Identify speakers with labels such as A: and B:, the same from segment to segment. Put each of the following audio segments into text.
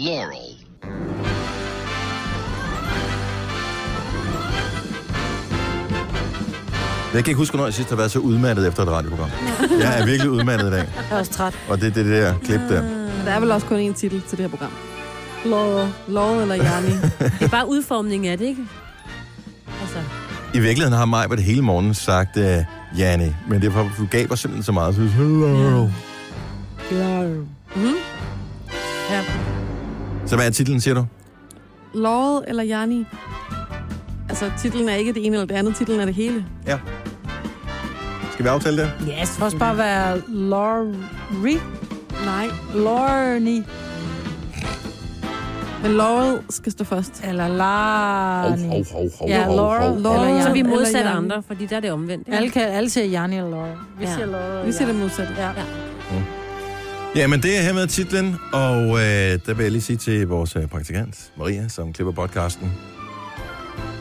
A: Laurel.
B: Jeg kan ikke huske, hvornår jeg sidst har været så udmattet efter et radioprogram. Jeg er virkelig udmattet i dag,
C: Jeg er også træt.
B: og det er det der klip der.
D: Der er vel også kun én titel til det her program. Laurel. Laurel eller Jani.
C: Det er bare udformningen af det, ikke? Altså,
B: I virkeligheden har mig på det hele morgen sagt, uh, Janne, men det er for, du gaber simpelthen så meget, så jeg synes, Laurel.
C: ja.
B: Så hvad er titlen, siger du?
D: Laurel eller Jani. Altså, titlen er ikke det ene eller det andet. Titlen er det hele.
B: Ja. Skal vi aftale det?
C: Yes,
E: Det kan også bare være Lori.
D: Nej.
E: Lorni.
D: Men Laurel skal stå først.
E: Eller Larni. Ja, Laurel.
D: Laurel.
E: Eller
C: Så vi
E: Jan.
D: Eller
C: modsat
D: Jan.
C: andre, fordi der er det omvendt. ikke?
E: Alle, kan, alle siger Janni eller Laurel. Vi
C: Ja.
E: siger Laurel.
D: Vi siger det modsatte.
E: Ja.
B: Jamen, det er her med titlen, og øh, der vil jeg lige sige til vores øh, praktikant, Maria, som klipper podcasten.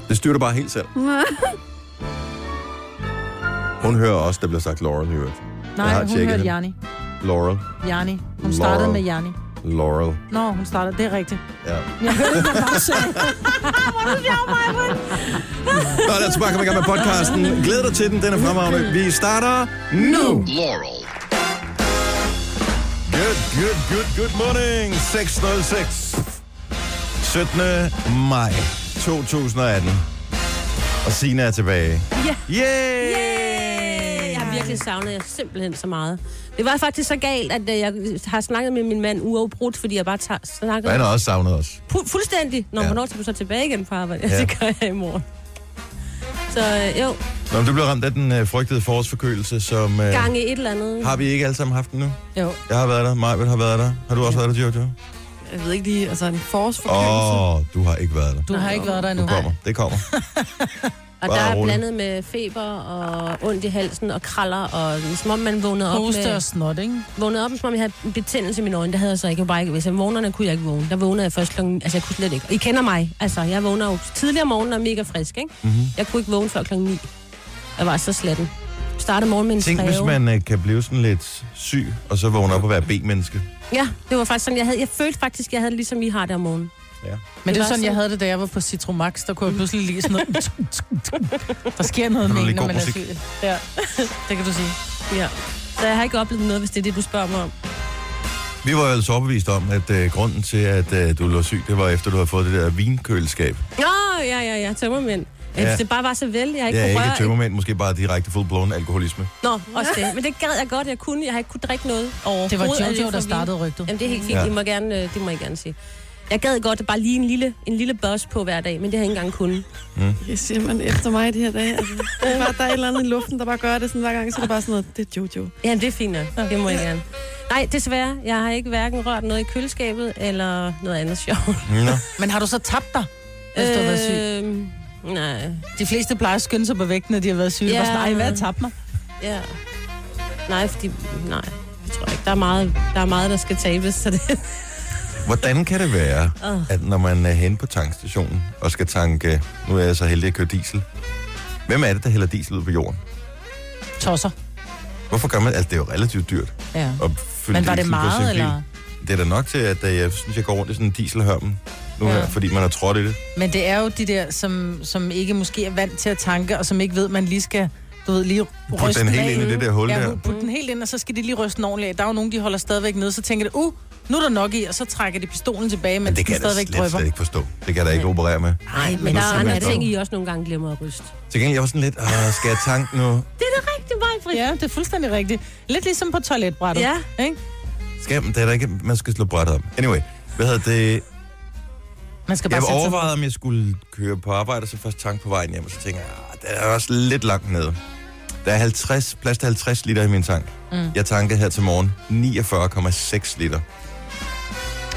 B: Det styrer du bare helt selv. Hun hører også, der bliver sagt Laurel i øvrigt. Jeg har
E: Nej, hun
B: tjekket
E: hørte
B: det.
E: Janni.
B: Laurel.
E: Janni. Hun startede
B: Laurel.
E: med Janni.
B: Laurel.
E: Nå, hun startede. Det er rigtigt.
B: Ja.
E: Jeg hørte ikke, hvad Lars sagde.
B: Nå, lad os bare komme i gang med podcasten. Glæd dig til den, den er fremragende. Vi starter nu!
A: Laurel.
B: Good, good, good, good morning. 6.06. 17. maj 2018. Og Sina er tilbage.
C: Ja.
B: Yay!
C: Yay! Jeg har virkelig savnet jer simpelthen så meget. Det var faktisk så galt, at øh, jeg har snakket med min mand uafbrudt, fordi jeg bare tager, snakkede
B: Og han har også savnet os.
C: fu- fuldstændig. Når
B: Ja.
C: ja. hvornår skal du så tilbage igen fra arbejde?
B: Ja.
C: Ja. Det gør jeg i morgen. Så øh, jo,
B: Nå, men du blev ramt af den øh, frygtede forårsforkølelse, som... Øh,
C: gange et eller andet.
B: har vi ikke alle sammen haft den nu?
E: Jo.
B: Jeg har været der, Majbel har været der. Har du også været der, Jojo?
D: Jeg ved ikke lige, altså en forårsforkendelse.
B: Åh, oh, du har ikke været der.
E: Du har ikke været der endnu.
B: Det kommer, det kommer.
C: Og
B: Bare
C: der er
B: rolig.
C: blandet med feber og ondt i halsen og kraller, og som om man vågnede op,
E: Hoste
C: med,
E: og snot, ikke?
C: vågnede op, som om jeg havde en betændelse i mine øjne. Det havde jeg så ikke. Jeg kunne bare ikke. Hvis jeg vågnerne kunne jeg ikke vågne. Der vågnede jeg først klokken... Altså, jeg kunne slet ikke. I kender mig. Altså, jeg vågner jo tidligere om morgenen og er mega frisk, ikke?
B: Mm-hmm.
C: Jeg kunne ikke vågne før klokken 9. Jeg var så slatten. Startede morgen med en
B: Tænk, hvis
C: stræve.
B: man øh, kan blive sådan lidt syg, og så vågne op og være B-menneske.
C: Ja, det var faktisk sådan, jeg havde. Jeg følte faktisk, jeg havde det ligesom I har det om morgenen.
B: Ja.
E: Men det
C: Det
E: er
C: var
E: sådan, jeg
C: sådan-
E: havde det, da jeg var på Citromax. Der kunne jeg pludselig lige sådan noget... Der sker noget
B: Kan du
E: med en,
B: lige
E: når
B: god
E: man er
B: musik?
E: syg. Ja, det kan du sige.
C: Ja. Så jeg har ikke oplevet noget, hvis det er det, du spørger mig om.
B: Vi var jo altså overbevist om, at øh, grunden til, at øh, du lå syg, det var efter, du havde fået det der vinkøleskab.
C: Nå, ja, ja, ja, tømmermænd.
B: Ja.
C: Ja. Hvis det bare var så vel, jeg
B: Det
C: ikke
B: er
C: kunne
B: ikke
C: røre...
B: tømmermænd, måske bare direkte full-blown alkoholisme.
C: Nå, også det. Men det gad jeg godt, jeg kunne. Jeg har ikke kunne drikke noget overhovedet.
E: Det var
C: alt
E: Jojo, der
C: fra vin.
E: startede rygtet.
C: Jamen, det er helt fint.
B: Ja.
C: Ja. I må gerne, øh, det må I gerne sige. Jeg gad godt bare lige en lille, en lille buzz på hver dag, men det har jeg ikke engang kunnet.
D: Jeg siger man efter mig det her dag. Altså, det er bare, der er et eller andet i luften, der bare gør det sådan hver gang, så er det bare sådan noget, det er Jojo.
C: Jamen, det er fint nok. Det må jeg gerne. Nej, desværre. Jeg har ikke hverken rørt noget i køleskabet eller noget andet sjovt.
B: Nå.
E: Men har du så tabt dig, efter du har været syg?
C: Øhm, nej.
E: De fleste plejer at skynde sig på vægten, når de har været syge.
C: Ja.
E: Ja. Nej, hvad har tabt mig?
C: Ja. Nej, fordi... Nej, det tror jeg ikke. Der er meget, der, er meget, der skal tabes, så det...
B: Hvordan kan det være, at når man er henne på tankstationen og skal tanke, nu er jeg så heldig at køre diesel, hvem er det, der hælder diesel ud på jorden?
E: Tosser.
B: Hvorfor gør man Altså, det er jo relativt dyrt
E: Ja.
B: at fylde
E: Men var det
B: diesel på sin
E: meget,
B: bil.
E: eller?
B: Det er da nok til, at øh, jeg synes, jeg går rundt i sådan en dieselhørmen nu
E: Ja.
B: her, fordi man har trådt i det.
E: Men det er jo de der, som, som ikke måske er vant til at tanke, og som ikke ved, man lige skal du ved, lige
B: Put
E: ryste
B: den helt
E: af.
B: ind i det der hul
E: ja,
B: der.
E: put den helt ind, og så skal de lige ryste den ordentligt af. Der er jo nogen, de holder stadigvæk nede, så tænker de, uh, nu er der nok i, og så trækker de pistolen tilbage, men,
B: Men det kan jeg
E: den
B: da
E: stadigvæk
B: slet,
E: drøber.
B: slet ikke forstå. Det kan jeg da ikke operere med.
C: Nej, men, men
B: nu
C: der
B: skal
C: er
B: man
C: andre
B: dog.
C: ting, I også nogle gange glemmer at ryste.
B: Til gengæld, jeg var sådan lidt, "Åh, skal jeg tanke nu?
C: Det er da rigtig meget, Britt.
E: Ja, det er fuldstændig rigtigt. Lidt ligesom på toiletbrættet.
C: Ja.
E: Ikke?
B: Skal man, det er der ikke, man skal slå brættet op. Anyway, hvad hedder det?
E: Man skal bare
B: Jeg
E: sætte sig
B: overvejede, om jeg skulle køre på arbejde, og så først tanke på vejen hjem, og så tænker jeg, "Ah, det er også lidt langt nede. Der er 50, plads til 50 liter i min tank. Mm. Jeg tankede her til morgen 49,6 liter.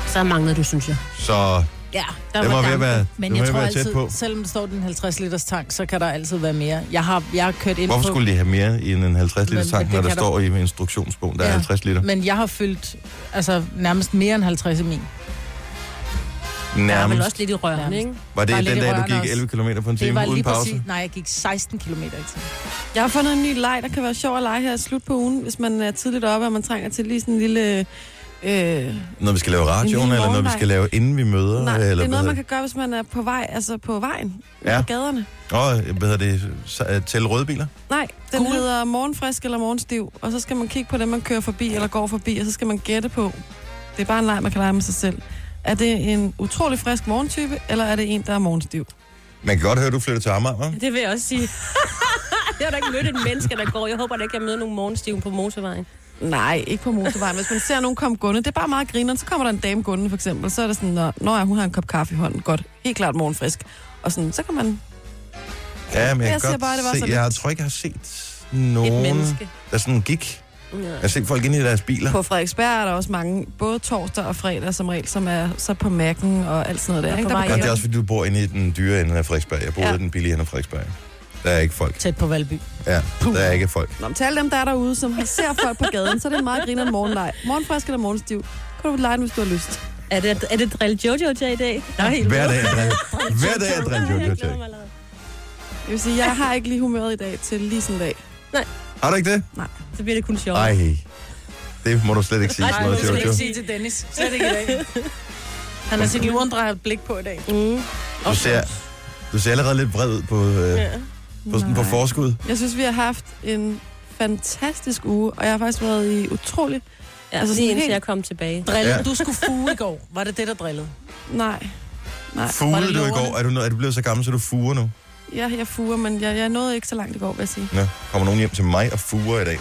C: Så manglede du, synes jeg.
B: Så
C: Ja, der
B: det var ved at
C: dampen.
B: være, det
E: Men
B: var
E: jeg
B: ved at
E: tror
B: være tæt
E: altid,
B: på.
E: selvom der står den 50 liters tank, så kan der altid være mere. Jeg har, jeg har kørt ind
B: Hvorfor
E: på,
B: skulle de have mere i en 50
E: Men-
B: liter
E: men
B: tank,
E: det
B: når der
E: kan der-
B: står i instruktionsbogen, der er
E: Ja.
B: 50 liter?
E: men jeg har fyldt altså, nærmest mere end 50 i min.
C: Der er vel
B: Nærmest.
C: også lidt i rørene,
E: Nærmest.
C: ikke?
B: Var
E: Der er
B: det
E: lidt
B: den
E: i
B: dag, du
E: rørene
B: gik
E: også.
B: 11 km på en
E: Det
B: time
E: var lige
B: uden
E: præcis...
B: pause?
E: Nej, jeg gik 16 km i timen.
D: Jeg har fundet en ny leg, der kan være sjov at lege her i slut på ugen, hvis man er tidligt oppe, og man trænger til lige sådan en lille Øh,
B: Når vi skal lave radioen,
D: Min
B: eller når vi
D: morgenvej.
B: skal lave, inden vi møder?
D: nej,
B: eller
D: det er noget,
B: hvad
D: man kan gøre, hvis man er på vej, altså på vejen,
B: Ja.
D: ja. på gaderne.
B: hedder- Åh, hvad hedder det? Så, øh, tælle røde biler?
D: Nej, den
E: Gule.
D: Gule. hedder morgenfrisk eller morgenstiv, og så skal man kigge på dem, man kører forbi eller går forbi, og så skal man gætte på. Det er bare en leg, man kan lege med sig selv. Er det en utrolig frisk morgentype, eller er det en, der er morgenstiv?
B: Man kan godt høre, at du flytter til Amager, hva'?
C: Det vil jeg også sige. jeg har da ikke mødt et menneske, der går. Jeg håber da ikke, jeg møder nogen morgenstiven på motorvejen.
D: Nej, ikke på motorvejen. Hvis man ser nogen komme gående, det er bare meget griner. Så kommer der en dame gående, for eksempel. Så er det sådan, når, når jeg, hun har en kop kaffe i hånden. Godt. Helt klart morgenfrisk. Og sådan, så kan man...
B: Ja, men jeg,
D: Jeg
B: kan
D: siger
B: godt
D: bare, det var
B: se.
D: sådan
B: Jeg
D: lidt-
B: tror ikke, jeg har set nogen,
C: menneske.
B: der sådan gik.
C: Ja.
B: Jeg har set folk inde i deres biler.
D: På Frederiksberg er der også mange, både torsdag og fredag som regel, som er så på mærken og alt sådan noget der.
C: Og
D: Ikke?
C: på
D: der
C: vej
B: Ja, det er
D: begynder-
B: også, fordi du bor inde i den dyre ende af Frederiksberg. Jeg bor ja.
D: Ja.
B: i den billige ende af Frederiksberg. Der er ikke folk.
E: Tæt på Valby.
B: Ja, der er ikke folk.
D: Nå, men til alle dem, der er derude, som har ser folk på gaden, så er det en meget griner morgenleg. Morgenfrisk eller morgenstiv. Kan du lege den, hvis du har lyst.
C: Er det, er det drill Jojo til i dag? Der er helt
B: Hver dag er drillet. Hver dag er drillet jojo tag.
D: Jeg vil sige, jeg har ikke lige humøret i dag til lige sådan en dag.
B: Har du ikke det?
C: Så bliver det kun sjovt.
B: Ej, det må du slet ikke sige.
C: Nej,
B: sådan
E: nu
B: noget,
E: skal jeg
B: Jojo.
E: ikke sige til Dennis. Slet ikke i dag. Han har sit lurendrejer blik på i dag.
C: Mm.
B: Du ser, du ser allerede lidt vred ud på, øh,
E: Ja.
B: på, sådan, på
D: Nej.
B: forskud.
D: Jeg synes, vi har haft en fantastisk uge, og jeg har faktisk været i utrolig...
C: Ja, altså,
D: Altså,
C: lige
D: sådan
C: indtil
D: helt-
C: jeg kom tilbage.
E: Drille.
B: Ja.
E: Du skulle fuge i går. Var det det, der drillede?
D: Nej. Nej.
E: var
B: Fugle
E: det
B: du i
E: lårene?
B: går? Er du, nå- er du blevet så gammel, så du fuger nu?
D: Jeg, jeg fuger, men jeg, jeg nåede ikke så langt i går, vil jeg sige.
B: Nå, kommer nogen hjem til mig og fuger i dag?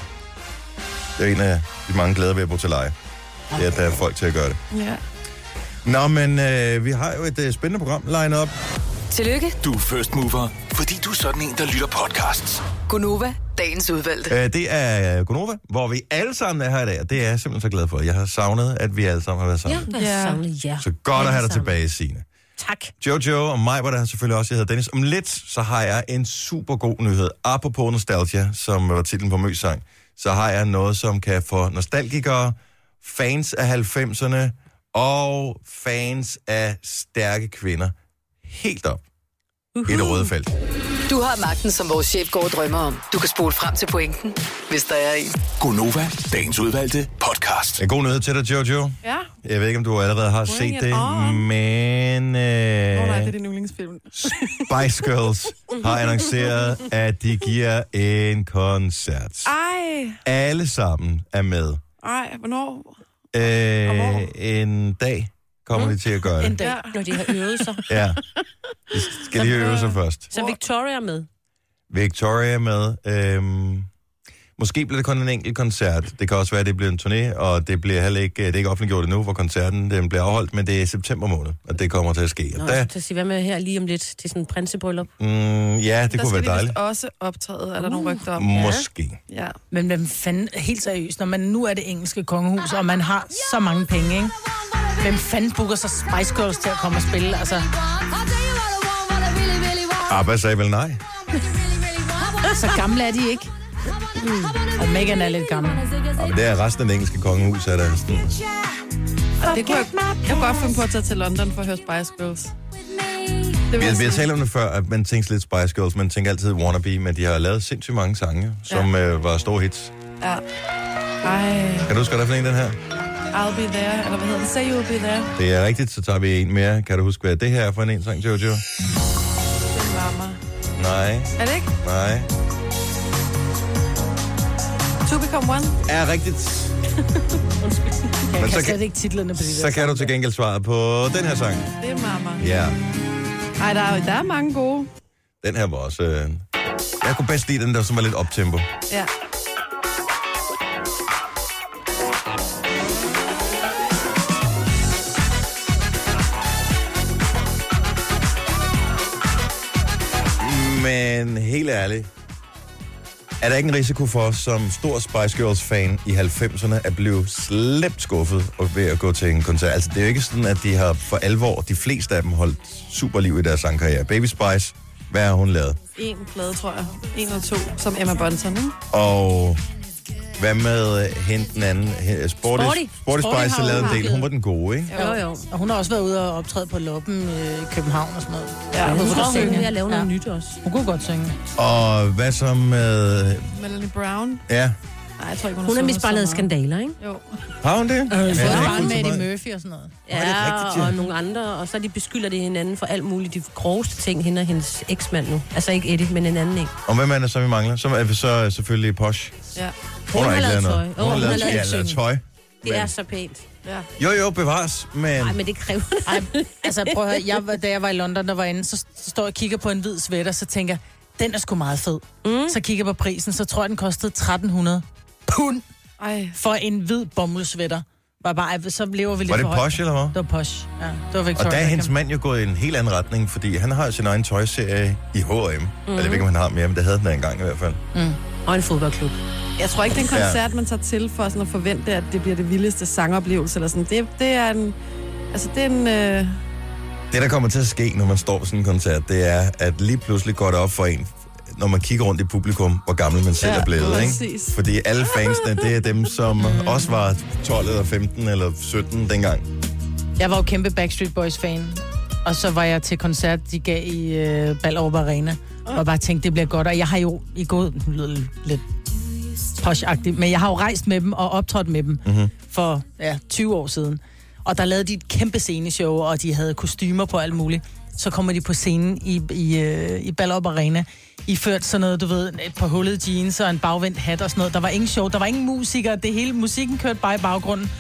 B: Det er en af de mange glæder ved at bo til leje. Det er, at der er folk til at gøre det.
D: Ja.
B: Nå, men øh, vi har jo et øh, spændende program lined op.
A: Tillykke,
F: Du er first mover, fordi du er sådan en, der lytter podcasts.
A: Gunova, dagens udvalgte.
B: Øh, det er øh, Gonova, hvor vi alle sammen er her i dag. og Det er jeg simpelthen så glad for. Jeg har savnet, at vi alle sammen har været
C: Ja,
B: sammen.
C: der ja.
D: Ja.
C: savnede jer.
B: Så godt at have
C: Alle
B: dig
C: sammen.
B: tilbage, Signe.
C: Tak.
B: Jojo og mig var der selvfølgelig også. Jeg hedder Dennis. Om lidt, så har jeg en super god nyhed. Apropos Nostalgia, som var titlen på Møs sang, så har jeg noget, som kan få nostalgikere, fans af 90'erne og fans af stærke kvinder helt op i det røde felt.
A: Du har magten, som vores chef går og drømmer om. Du kan spole frem til pointen, hvis der er en.
F: Gonova, dagens udvalgte podcast.
B: En god nyhed til dig, Jojo.
D: Ja.
B: Jeg ved ikke, om du allerede har set
D: Bring it
B: det,
D: on.
B: men... Øh...
D: Nå, nej, det er din yndlingsfilm.
B: Spice Girls har annonceret, at de giver en koncert.
D: Ej,
B: Alle sammen er med.
D: ej, hvornår?
B: Øh,
D: hvor?
B: en dag
D: Mm.
B: kommer de til at gøre
E: En
B: det.
E: dag.
D: Ja.
C: Når de har øvet sig.
B: Ja. De skal lige øve sig først.
C: Så er Victoria med.
B: Victoria er med. Øhm, måske bliver det kun en enkelt koncert. Det kan også være, at det bliver en turné, og det bliver heller ikke, det er ikke offentliggjort endnu, hvor koncerten den bliver afholdt, men det er i september måned, og det kommer til at ske.
C: Nå,
B: Og
C: jeg
B: da,
C: skulle til at sige, hvad med her lige om lidt til sådan en prinsebryllup?
B: mm, ja, det kunne
D: der
B: være
D: skal de vist
B: dejligt.
D: også optræde, er der uh. nogle rygter om.
B: Måske.
D: Ja.
E: Men hvem fanden, helt seriøst, når man nu er det engelske kongehus, og man har så mange penge, ikke? Hvem fanden booker så Spice Girls til at komme og spille? Altså,
B: Abba Ah, sagde vel nej.
E: så gamle er de ikke. Mm. Og Megan er lidt gammel.
B: Men det er resten af det engelske kongehus, er der sådan.
D: Det kunne jeg, jeg kunne godt finde på at tage til London for at høre Spice Girls. Det
B: Vi har, vi har
D: sådan-
B: talt om det før, at man tænker lidt Spice Girls, man tænker altid Wannabe, men de har lavet sindssygt mange sange, som ja. øh, var store hits.
D: Ja. Ej,
B: Kan du huske, hvad der er for en, den her?
D: I'll be there, eller hvad hedder det? Say you'll be there.
B: Det er rigtigt, så tager vi en mere. Kan du huske, hvad det her er for en, en sang, Jojo?
D: Den varmer.
B: Nej,
D: Er det ikke?
B: nej.
D: To become one.
B: Er rigtigt.
E: Jeg
B: Men
E: kan
B: så
E: slet
B: kan-
E: ikke titlerne på de der
B: Så kan du til gengæld svare på den her sang.
D: Det er mamma.
B: Ja,
D: Ej, der er, der er mange gode.
B: den her var også... Øh... Jeg kunne bedst lide den der, som var lidt optempo.
D: Ja.
B: Men helt ærligt, er der ikke en risiko for, som stor Spice Girls-fan i 90'erne, at blive slemt skuffet og ved at gå til en koncert? Altså, det er jo ikke sådan, at de har for alvor, de fleste af dem, holdt superliv i deres sangkarriere. Baby Spice, hvad har hun lavet?
D: En plade, tror jeg. En og to, som Emma Bunton, ikke?
B: Og hvad med øh, hende den anden? He- Sporty, Sporty,
C: Sporty.
B: Sporty
E: Sporty
B: Spice
E: har
B: har lavet en
E: hun
B: del. Hun var den gode, ikke?
C: Jo, jo.
E: Og hun har også været ude og optræde på Loppen øh, i København og sådan noget.
D: Ja,
C: Hun
E: hun
C: skal
E: kunne
C: synge.
E: synge.
C: Jeg laver noget
E: Ja.
C: nyt også.
E: Hun kunne godt synge.
B: Og hvad så med...
D: Melanie Brown.
B: Ja,
D: Nej, jeg tror ikke, hun,
C: Hun har
D: sunget
C: mist bare lavet
D: så meget.
C: skandaler, ikke?
D: Jo.
B: Har hun det?
E: Øh,
B: det
E: ja,
B: er ikke
E: bare med
B: så meget.
E: Eddie Murphy og sådan noget.
B: er det rigtigt, ja.
C: og nogle andre, og så de beskylder de hinanden for alt muligt, de groveste ting, hende og hendes eksmand nu. Altså ikke Eddie, men en anden en.
B: Og hvem er det, som vi mangler? Så er vi så selvfølgelig Posh.
D: Ja.
B: Hun, har ikke lavet noget.
C: tøj. Åh, hun har lavet
B: ja, lavet tøj.
C: Det
B: Men-
C: er så pænt.
D: ja.
B: Jo, jo, bevares, men...
C: Nej, men det kræver
E: Ej, altså prøv at høre, jeg, var- da jeg var i London og var inde, så st- står jeg og kigger på en hvid sweater, så tænker jeg, den er sgu meget fed. Mm. Så kigger jeg på prisen, så tror jeg, den kostede 1300 pund
D: Ej,
E: for en hvid bomuldsvætter. Var bare, ej, så lever vi lidt
B: Var det
E: for højt.
B: Posh, eller hvad?
E: Det var posh, ja. Det var Victoria.
B: Og der er hendes
E: Beckham.
B: mand jo gået i en helt anden retning, fordi han har sin egen tøjserie i H&M. Mm. Jeg ved ikke, om han har mere, men det havde den engang i hvert fald.
C: Og en fodboldklub.
D: jeg tror ikke, det er en
B: Ja.
D: koncert, man tager til for sådan at forvente, at det bliver det vildeste sangoplevelse. Eller sådan. Det, det er en... Altså, det er en... Øh,
B: Det, der kommer til at ske, når man står ved sådan en koncert, det er, at lige pludselig går det op for en, når man kigger rundt i publikum, hvor gammel man selv
D: Ja,
B: er blevet. Ikke?
D: præcis.
B: Fordi alle fansene, det er dem, som også var 12 eller 15 eller 17 dengang.
E: Jeg var jo kæmpe Backstreet Boys-fan. Og så var jeg til koncert, de gav i øh, Ballerup Arena. Og bare tænkte, det bliver godt. Og jeg har jo i gået nu lyder det lidt posh men jeg har jo rejst med dem og optrådt med dem mm-hmm. for ja, 20 år siden. Og der lavede de et kæmpe sceneshow, og de havde kostymer på alt muligt. Så kommer de på scenen i, i, øh, i Ballerup Arena, iført sådan noget, du ved, et par hullede jeans og en bagvendt hat og sådan noget. Der var ingen show, der var ingen musikere, det hele, musikken kørte bare i baggrunden.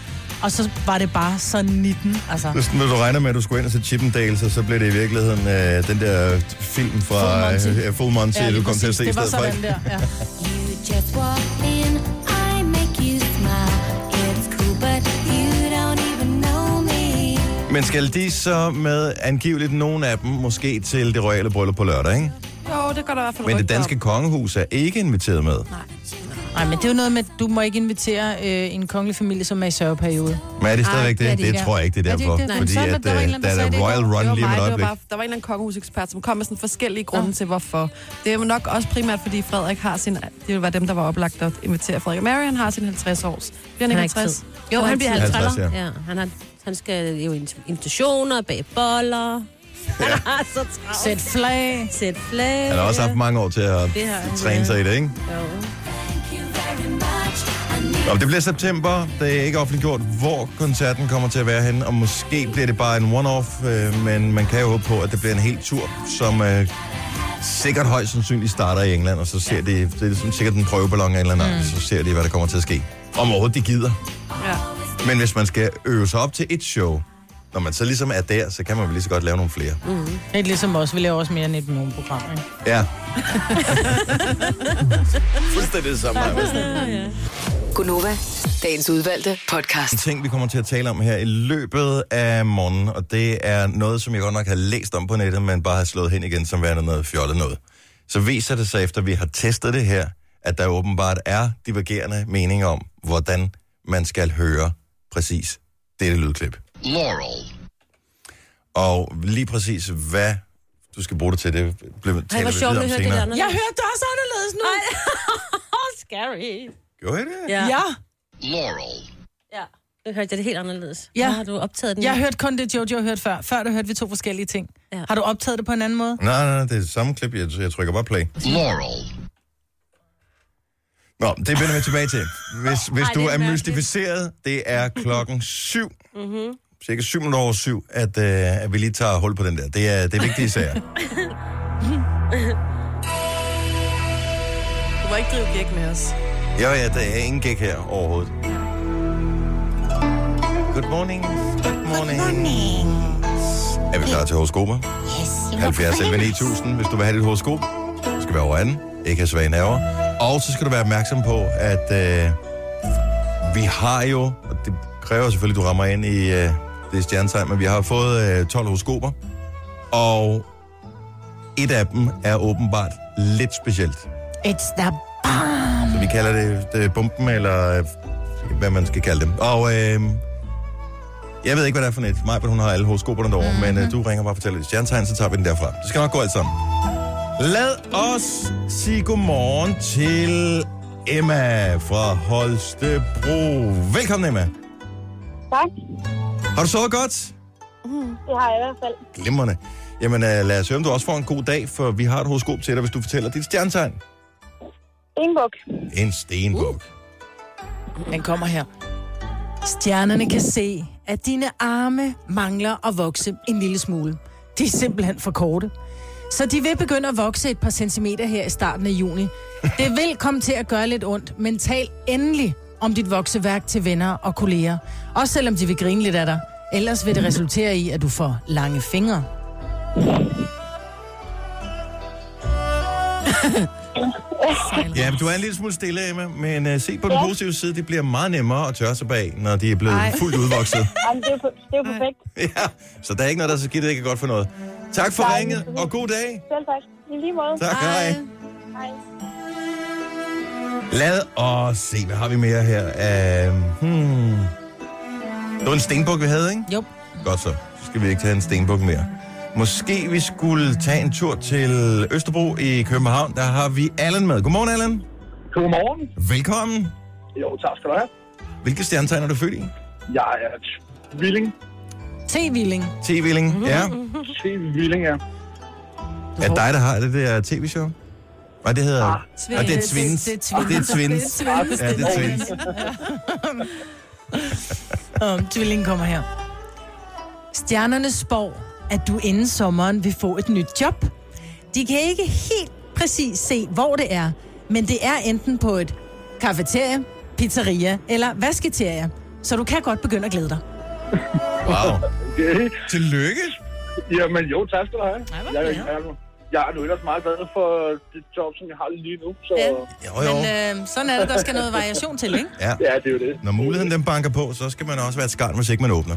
E: Og så var det bare så 19, altså.
B: Det er sådan, når du regner med, at du skulle ind og se Chippendales, og så blev det i virkeligheden øh, den der film fra
E: Full Monty.
B: øh, Full Monty, ja,
E: lige
B: du kom til at
E: præcis.
B: se i
E: Det var
B: stedet for.
E: sådan
B: ikke?
E: der, ja.
G: You just walk in, I make you smile. It's cool, but you don't even know me.
B: Men skal de så med angiveligt nogen af dem måske til det royale bryllup på lørdag, ikke?
D: jo, det går der i hvert fald
B: Men det
D: rygter
B: danske
D: om.
B: kongehus er ikke inviteret med.
E: Nej, men det er jo noget med, at du må ikke invitere øh, en kongelig familie, som er i sørgeperiode.
B: Men er det stadigvæk
E: det er
B: det?
E: de
B: Det
E: ikke.
B: tror jeg ikke, det er
E: Er de ikke
B: derfor.
E: det? Nej,
B: Fordi
E: så er der-
B: at,
E: der var en eller
B: øh,
E: anden,
B: der
E: der
B: er
E: sagde det i
B: Royal
E: går.
B: Run
D: Det
B: lige om et
D: var mig, det var,
B: øjeblik.
D: bare, der var en eller anden kongehusekspert, som kom med sådan forskellige grunde til, hvorfor. Det er nok også primært, fordi Frederik har sin... Det var dem, der var oplagt at invitere Frederik. Marian har sin 50 års. Bliver han
C: har
D: ikke 50?
C: tid. Jo, han bliver
B: 50,
C: 50.
B: ja.
C: ja. ja. Han, har, han skal jo ind- invitationer, bag boller. Han har så travlt.
E: Sæt flag.
C: Sæt flag.
B: Han har også haft mange år til at
C: Det har han,
B: træne sig i det, ikke?
C: Jo.
G: Thank you very much. I need
B: Om det bliver september, det er ikke offentliggjort, hvor koncerten kommer til at være henne, og måske bliver det bare en one-off, øh, men man kan jo håbe på, at det bliver en hel tur, som øh, sikkert højst sandsynligt starter i England, og så ser de, det er sådan, sikkert en prøveballon af en eller anden, art, så ser de, hvad der kommer til at ske. Om overhovedet de gider.
D: Ja.
B: Men hvis man skal øve sig op til et show, når man så ligesom er der, så kan man vel lige så godt lave nogle flere.
E: Lidt ligesom os. Vi laver også mere end et morgenprogram, ikke?
B: Ja. Fuldstændig det samme. Maja.
A: Gunova, dagens udvalgte podcast.
B: En ting, vi kommer til at tale om her i løbet af morgenen, og det er noget, som jeg godt nok har læst om på nettet, men bare har slået hen igen som værende noget fjollet noget. Så viser det sig, efter vi har testet det her, at der åbenbart er divergerende meninger om, hvordan man skal høre præcis dette lydklip.
H: Laurel.
B: Og lige præcis, hvad du skal bruge det til, det blev
C: Ej,
B: talt
C: hvor
B: lidt
C: sjovt,
B: om
C: at høre det der.
B: senere.
C: når-
E: Jeg hørte det også anderledes nu.
C: Scary.
B: Gjorde I det?
C: Ja.
E: Ja.
H: Laurel.
C: ja. Nu hørte jeg det helt anderledes.
E: Ja.
C: Nå, Har du optaget den?
E: Jeg hørte kun det, Jojo hørte før. Før der hørte vi to forskellige ting.
C: Ja.
E: Har du optaget det på en anden måde?
B: Nej, nej, nej, det er det samme klip, jeg, jeg trykker bare play.
H: Laurel.
B: Nå, det vender vi tilbage til. Hvis, hvis
C: Ej,
B: du
C: det er
B: er,
C: mærkeligt.
B: mystificeret, det er klokken syv. Mm-hmm.
C: Mhm.
B: Cirka syv minutter over syv, at, øh, at vi lige tager hul på den der. Det er det er vigtige sager.
D: Du må ikke drive gæk med os.
B: Jo, ja, der er ingen gæk her overhovedet. Good morning. Good morning. Er vi klar til horoskoper?
G: you.
B: 70 11 9000, hvis du vil have dit horoskop. Du skal være over anden, ikke have svage nerver. Og så skal du være opmærksom på, at øh, vi har jo, og det kræver selvfølgelig, at du rammer ind i øh, det stjernetegn, men vi har fået øh, 12 horoskoper, og et af dem er åbenbart lidt specielt.
E: It's the...
B: Så vi kalder det, det bomben, eller øh, hvad man skal kalde dem. Og øh, jeg ved ikke, hvad det er for net. Maja, hun har alle horoskoperne derovre, mm-hmm. men øh, du ringer bare og fortæller dit stjernetegn, så tager vi den derfra. Det skal nok gå alt sammen. Lad os sige godmorgen til Emma fra Holstebro. Velkommen, Emma.
I: Tak, Mhm.
B: Har du sovet godt?
I: det har jeg i hvert fald.
B: Glimrende. Jamen, øh, lad os høre, om du også får en god dag, for vi har et horoskop til dig, hvis du fortæller dit stjernetegn.
I: Ingeborg,
B: En stenbuk.
E: Den kommer her. Stjernerne kan se, at dine arme mangler at vokse en lille smule. De er simpelthen for korte. Så de vil begynde at vokse et par centimeter her i starten af juni. Det vil komme til at gøre lidt ondt, men tal endelig om dit vokseværk til venner og kolleger. Også selvom de vil grine lidt af dig. Ellers vil det resultere i, at du får lange fingre.
B: Ja, men du er en lille smule stille, Emma, men uh, se på den positive side, det bliver meget nemmere at tørre sig bag, når de er blevet Ej.
D: Ej.
B: fuldt udvokset.
I: Jamen, det er jo, per- det er jo perfekt.
B: ja, så der er ikke noget, der er så skidt, det ikke er godt for noget. Tak for
I: Nej.
B: ringet, og god dag.
I: Selv tak. I lige måde.
B: Tak, hej.
I: Hej.
B: Lad os se, hvad har vi mere her? Uh, hmm. Det var en stenbuk, vi havde, ikke?
E: Jo.
B: Godt så. Så skal vi ikke tage en stenbuk mere. Måske vi skulle tage en tur til Østerbro i København. Der har vi Allan med. Godmorgen, Allan.
J: Godmorgen.
B: Velkommen.
J: Jo, tak skal du have.
B: Hvilke stjernetegn er du født i?
J: Jeg er t- Villing.
E: T-villing.
B: T-villing, ja.
J: Til Villing, ja.
B: Er det dig, der har det der tv-show? Nej, det hedder... Ah,
D: Tvind.
B: det er Twins.
E: Det er Twins.
B: Det er Twins. Ja, det er Twins.
E: Om tvillingen kommer her. Stjernerne spår, at du inden sommeren vil få et nyt job. De kan ikke helt præcis se, hvor det er, men det er enten på et kafeterie, pizzeria eller vasketerie. Så du kan godt begynde at glæde dig.
B: Wow.
J: Okay.
B: Tillykke.
J: Jamen jo, tak skal du have.
E: Ej, hvor
J: jeg, jeg,
E: glad.
J: jeg, jeg er nu ellers meget glad for det job, som jeg har lige nu. Så
E: Ja.
J: ja,
B: Jo, jo.
E: Men øh, sådan er det, der skal noget variation til, ikke?
B: Ja.
J: ja det er jo det.
B: Når muligheden den banker på, så skal man også være et skarn, hvis ikke man åbner.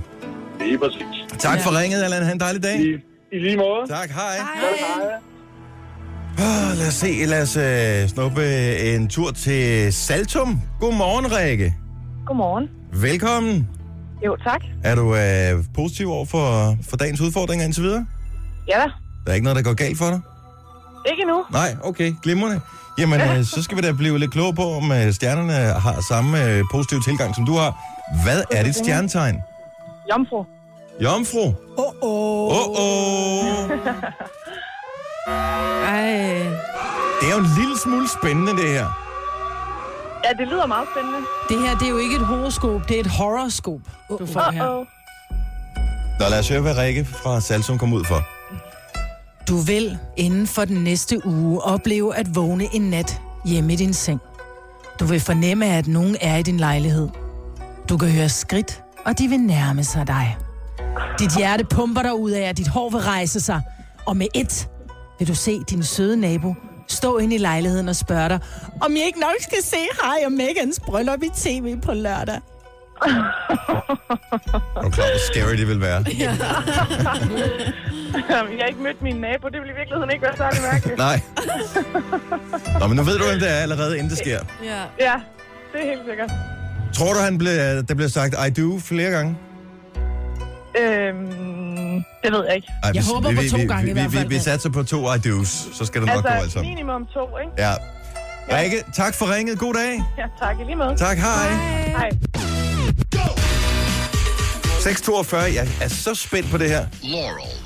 J: Det er præcis.
B: Tak for ringet, Allan. Ha' en dejlig dag.
J: I, i lige måde.
B: Tak, hej.
J: Hej.
B: Ah, lad os se, lad os øh, snuppe en tur til Saltum. Godmorgen, Rikke.
I: Godmorgen.
B: Velkommen.
I: Jo, tak.
B: Er du øh, positiv over for, for dagens udfordringer indtil videre?
I: Ja da.
B: Der er ikke noget, der går galt for dig?
I: Ikke nu.
B: Nej, okay, glimrende. Jamen, øh, så skal vi da blive lidt klogere på, om øh, stjernerne har samme øh, positive tilgang, som du har. Hvad er dit stjernetegn?
I: Jomfru.
B: Jomfru.
E: Åh,
B: Åh, oh, oh.
D: Ej.
B: Det er jo en lille smule spændende, det her.
I: Ja, det lyder meget spændende.
E: det her det er jo ikke et horoskop, det er et horoskop, du får her.
I: Uh-oh.
B: Nå, lad os høre, hvad Rikke fra Salsum kom ud for.
E: Du vil inden for den næste uge opleve at vågne en nat hjemme i din seng. Du vil fornemme, at nogen er i din lejlighed. Du kan høre skridt, og de vil nærme sig dig. Dit hjerte pumper dig ud af, at dit hår vil rejse sig. Og med et vil du se din søde nabo stå ind i lejligheden og spørge dig, om jeg ikke nok skal se Harry og Megans bryllup i tv på lørdag.
B: Er du klar, hvor scary det vil være?
I: Jeg har ikke mødt min nabo. Det ville i virkeligheden ikke være særlig mærkeligt.
B: Nej. Nå, men nu ved du, hvem det er allerede, inden det sker.
D: Ja.
I: ja, det er helt sikkert.
B: Tror du, han blev, der blev sagt I do flere gange?
I: Øhm, det ved jeg ikke.
B: Ej,
E: Jeg håber på to gange i
B: vi,
E: hvert fald.
B: Vi, vi satser på to I do's, så skal det nok
I: altså,
B: gå alt sammen.
I: minimum to, ikke?
B: Ja. Rikke, tak for ringet. God dag.
I: Ja, tak. I lige måde.
B: Tak, hej.
I: Hej.
B: 6.42. Jeg er så spændt på det her.
H: Laurel,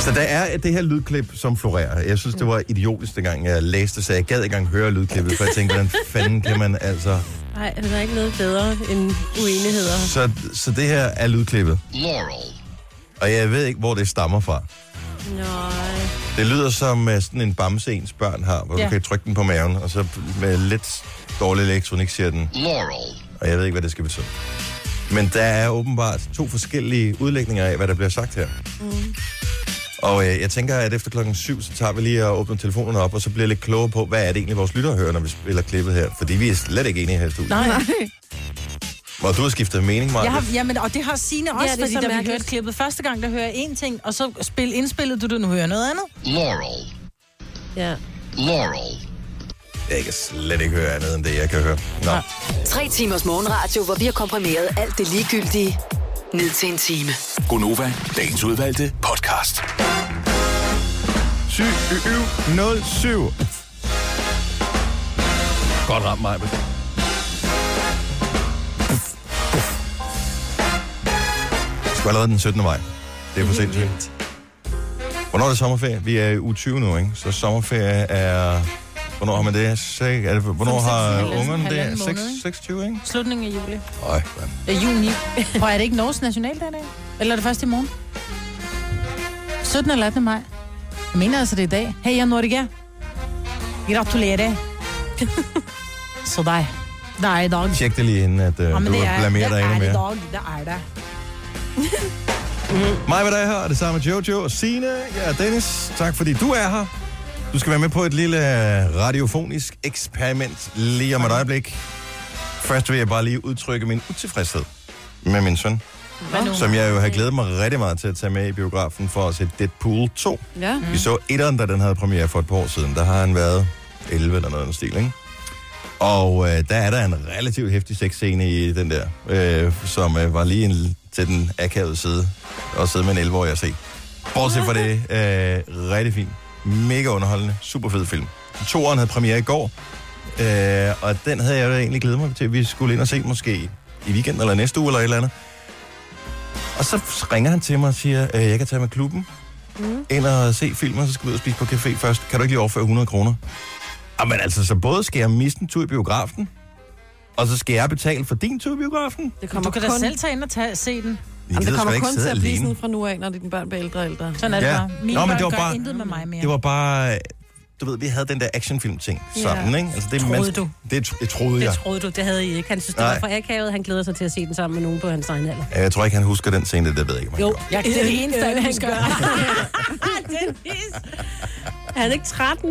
B: Så der er det her lydklip, som florerer. Jeg synes, det var idiotisk, dengang jeg læste det, så jeg gad ikke engang høre lydklippet, for jeg tænkte, hvordan fanden kan man altså...
C: Nej, der er ikke noget bedre end uenigheder.
B: Så, så det her er lydklippet,
H: Laurel,
B: og jeg ved ikke, hvor det stammer fra.
C: Nej.
B: Det lyder som øh, sådan en bamse, ens børn har, hvor ja. du
E: Ja.
B: kan trykke den på maven, og så med lidt dårlig elektronik siger den,
H: Laurel,
B: og jeg ved ikke, hvad det skal betyde. Men der er åbenbart to forskellige udlægninger af, hvad der bliver sagt her. Mm. Og øh, jeg tænker, at efter klokken 7, så tager vi lige og åbner telefonerne op, og så bliver jeg lidt klogere på, hvad er det egentlig, vores lyttere hører, når vi spiller klippet her. Fordi vi er slet ikke enige her i studiet.
E: Nej,
B: Og du har skiftet mening, Maja.
E: Jeg har, jamen, og det har Signe også,
C: Ja,
E: ja,
C: det er
E: fordi
C: så
E: da vi
C: mærkeligt.
E: hørte klippet første gang, der hører én ting, og så spil, indspillede du det, nu hører jeg noget andet.
H: Laurel,
C: Ja.
H: Laurel,
B: Jeg kan slet ikke høre andet, end det, jeg kan høre. Nå.
E: Nej.
A: Tre timers morgenradio, hvor vi har komprimeret alt det ligegyldige ned til en time.
F: Gonova, dagens udvalgte podcast.
B: 07. Godt ramt mig. Det er allerede den 17. maj. Det er for sindssygt. Hvornår er det sommerferie? Vi er i uge 20 nu, ikke? Så sommerferie er Hvornår har man det? Sek, er det hvornår
E: Som
B: har
E: 26,
B: ungerne
E: halvanden
B: det?
E: måned,
B: 6,
E: ikke?
B: 26, ikke?
E: Slutningen af juli.
B: Øj, mand.
E: Ja, juni. Prøv, er det ikke Norges nationaldag i dag? Eller er det først i morgen? 17. eller 18. maj. Jeg mener altså, det er i dag. Hej, jeg Norge. Gratulerer. Så dig. Det er i dag.
B: Tjek det lige inden, at øh, du
E: det er, det
B: blamerer dig
E: er
B: endnu
E: i
B: mere.
E: dag. Det er det.
B: Mig hvad der er her, og det samme med Jojo og Sine. Jeg er Dennis. Tak fordi du er her. Du skal være med på et lille øh, radiofonisk eksperiment lige om et øjeblik. Først vil jeg bare lige udtrykke min utilfredshed med min søn,
E: Hvad nu?
B: som jeg jo har glædet mig rigtig meget til at tage med i biografen for at se Deadpool 2.
D: Ja.
B: Vi så etteren, da den havde premiere for et par år siden. Der har han været 11 eller noget af den stil, ikke? Og øh, der er der en relativt hæftig sexscene i den der, øh, som øh, var lige en, til den akavede side. Og sidde med en 11-årig og se. Bortset fra det, øh, rigtig fint. Mega underholdende. Super fed film. Toren havde premiere i går. Øh, og den havde jeg da egentlig glædet mig til, at vi skulle ind og se måske i weekenden eller næste uge eller et eller andet. Og så ringer han til mig og siger, øh, jeg kan tage med klubben ind og se filmen, og så skal vi ud og spise på café først. Kan du ikke lige overføre 100 kroner? Jamen altså, så både skal jeg miste en tur i biografen, og så skal jeg betale for din tur i biografen.
D: Det kommer
E: Du kan da
D: kun,
E: selv tage ind og tage, se den.
B: Jeg
D: jamen,
B: gider
D: det kommer
B: sgu ikke
D: kun til
B: sidde
D: at blive
B: alene.
D: sådan fra nu af, når dine børn bliver ældre og ældre.
E: Sådan er det
B: Ja.
E: bare. Mine
B: Nå, men
E: børn
B: det var
E: gør
B: bare-
E: intet med mig mere.
B: Det var bare... Du ved, vi havde den der actionfilm-ting sammen,
D: Ja.
B: ikke? Altså, det, er
C: Troede
B: menneske-
C: du?
B: Det, tro- det troede
C: Det
B: jeg.
C: troede du, det havde I ikke. Han synes, det
B: Nej.
C: var for akavet. Han glæder sig til at se den sammen med nogen på hans egen alder.
B: Jeg tror ikke, han husker den scene, det der ved jeg ikke, om han
C: Jo,
B: gjorde.
E: Jeg- det er det eneste, han
C: Øh,
E: husker.
C: Dennis! Er han ikke 13?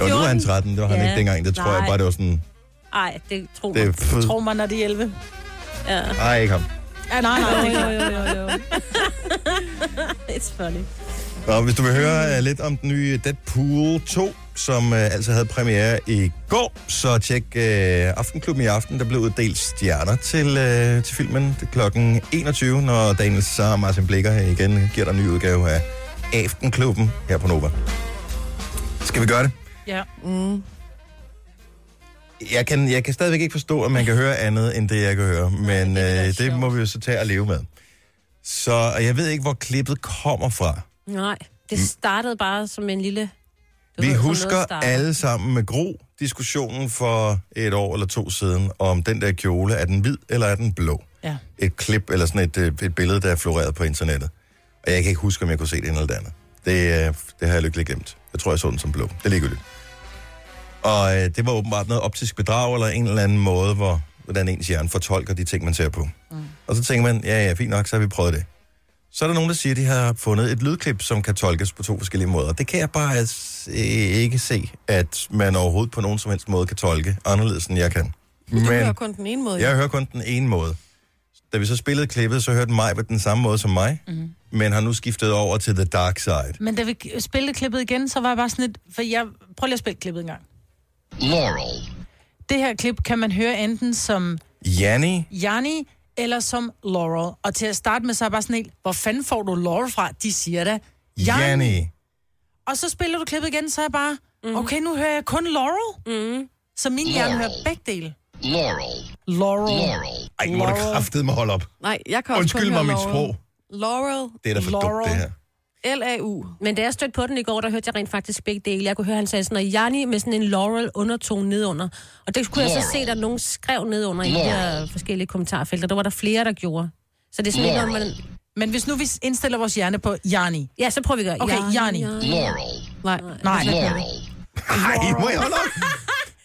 B: Jo, nu er han
C: 14.
B: 13, det var han
C: Ja.
B: ikke dengang. Det tror jeg
C: Nej.
B: bare, det var sådan...
C: Nej, det tror
B: Det
C: jeg.
B: er fedt.
E: Tror man, når de er 11?
B: Ej, ikke ham.
E: Ja, nej, nej.
D: Jo, jo, jo, jo.
C: It's funny.
B: Nå, hvis du vil høre uh, lidt om den nye Deadpool 2, som uh, altså havde premiere i går, så tjek uh, Aftenklubben i aften. Der blev uddelt stjerner til, uh, til filmen. Det er klokken 21, når Daniel så og Martin Blikker igen giver dig en ny udgave af Aftenklubben her på Nova. Skal vi gøre det? Mm.
E: Ja.
B: Jeg kan, jeg kan stadigvæk ikke forstå, at man kan høre andet, end det jeg kan høre. Men øh,
E: da
B: det
E: sjovt.
B: må vi jo så tage og leve med. Så og jeg ved ikke, hvor klippet kommer fra.
C: Nej, det startede bare som en lille... Du
B: Mm. Vi
C: ved, som noget
B: husker
C: starter.
B: alle sammen med gro diskussionen for et år eller to siden, om den der kjole, er den hvid eller er den blå?
E: Ja.
B: Et klip eller sådan et, øh, et billede, der er floreret på internettet. Og jeg kan ikke huske, om jeg kunne se det ene eller det andet. Det, øh, det har jeg lykkeligt glemt. Jeg tror, jeg så den som blå. Det er ligegyldigt. Og øh, det var åbenbart noget optisk bedrag, eller en eller anden måde, hvor, hvordan ens hjerne fortolker de ting, man ser på. Mm. Og så tænker man, ja, ja, fint nok, så har vi prøvet det. Så er der nogen, der siger, at de har fundet et lydklip, som kan tolkes på to forskellige måder. Det kan jeg bare altså, øh, ikke se, at man overhovedet på nogen som helst måde kan tolke anderledes, end jeg kan.
D: Du
B: Men
D: hører kun den ene måde.
B: jeg hører kun den ene måde. Da vi så spillede klippet, så hørte mig på den samme måde som mig, mm. men har nu skiftet over til The Dark Side.
E: Men da vi k- spillede klippet igen, så var jeg bare sådan lidt... For jeg, prøv lige at spille klippet en gang.
H: Laurel,
E: Det her klip kan man høre enten som
B: Janni,
E: Jani eller som Laurel. Og til at starte med, så er jeg bare sådan helt, hvor fanden får du Laurel fra? De siger da, Janni.
B: Janni.
E: Og så spiller du klippet igen, så er jeg bare,
H: Mhm.
E: okay, nu hører jeg kun Laurel. Mm. Så min hjerne hører begge dele.
H: Laurel,
E: Laurel.
H: Laurel,
B: Ej, må du
E: Laurel.
B: kraftede mig holde op.
D: Nej, jeg kan også
B: Undskyld
D: kun
B: mig
D: høre
B: mit
D: Laurel.
B: sprog.
D: Laurel.
B: Det er da for dumt,
E: Laurel.
B: det her.
D: L-A-U.
C: Men da jeg stødte på den i går, der hørte jeg rent faktisk begge dele. Jeg kunne høre, han sagde sådan noget, Jani med sådan en Laurel undertone nedunder. Og det kunne jeg så se, at nogen skrev nedunder i de her forskellige kommentarfelter. Der var der flere, der gjorde. Så det er sådan ikke noget, man...
E: Men hvis nu vi indstiller vores hjerne på Jani.
C: Ja, så prøver vi at gøre.
E: Okay,
C: Jani.
E: Jani.
H: Laurel,
D: Nej.
E: Nej.
H: Laurel,
B: Ej, må jeg holde op?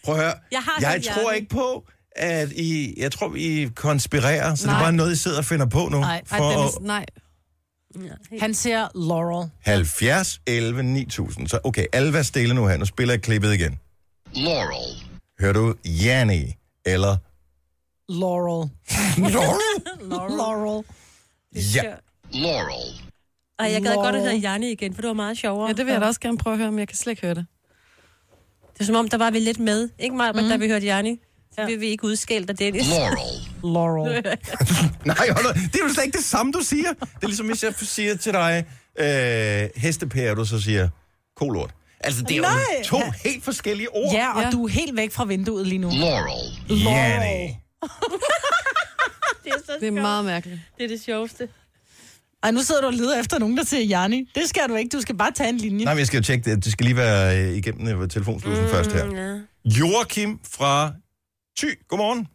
B: Prøv at høre.
C: Jeg har
B: jeg
C: hørt
B: tror
C: Janni.
B: ikke på, at I... Jeg tror, I konspirerer, så Nej. det er bare noget, I sidder og finder på nu.
E: Nej,
D: Ej,
B: for
D: Dennis, nej.
E: Han siger Laurel.
B: 70, 11, 9000. Så okay, alle vær stille nu her. Nu spiller jeg klippet igen.
H: Laurel,
B: Hører du Janni eller
E: Laurel.
B: Laurel?
E: Laurel.
B: Ja.
H: Laurel,
C: Og jeg gad godt at høre Janne igen, for det var meget sjovere.
D: Ja, det vil jeg da også gerne prøve at høre, men jeg kan slet ikke høre det.
C: Det er som om, der var vi lidt med. Ikke meget, men mm. da vi hørte Janni. Så blev vi ikke udskældt af Dennis.
H: Laurel,
E: Laurel.
B: Nej, hold da- det er jo slet ikke det samme, du siger. Det er ligesom, hvis jeg siger til dig, øh, hestepære, du så siger kolort. Altså, det er jo
E: Nej.
B: to helt forskellige ord.
E: Ja, og
D: Ja.
E: du er helt væk fra vinduet lige nu.
H: Laurel,
B: Janni.
C: Det er, så
D: Det er meget mærkeligt.
C: det, er det sjoveste.
E: Ej, nu sidder du og leder efter nogen, der siger Janni. Det skal du ikke. Du skal bare tage en linje.
B: Nej, men jeg skal jo tjekke det. Det skal lige være øh, igennem øh, telefonslusen mm, først her. Joachim fra Thy. Godmorgen.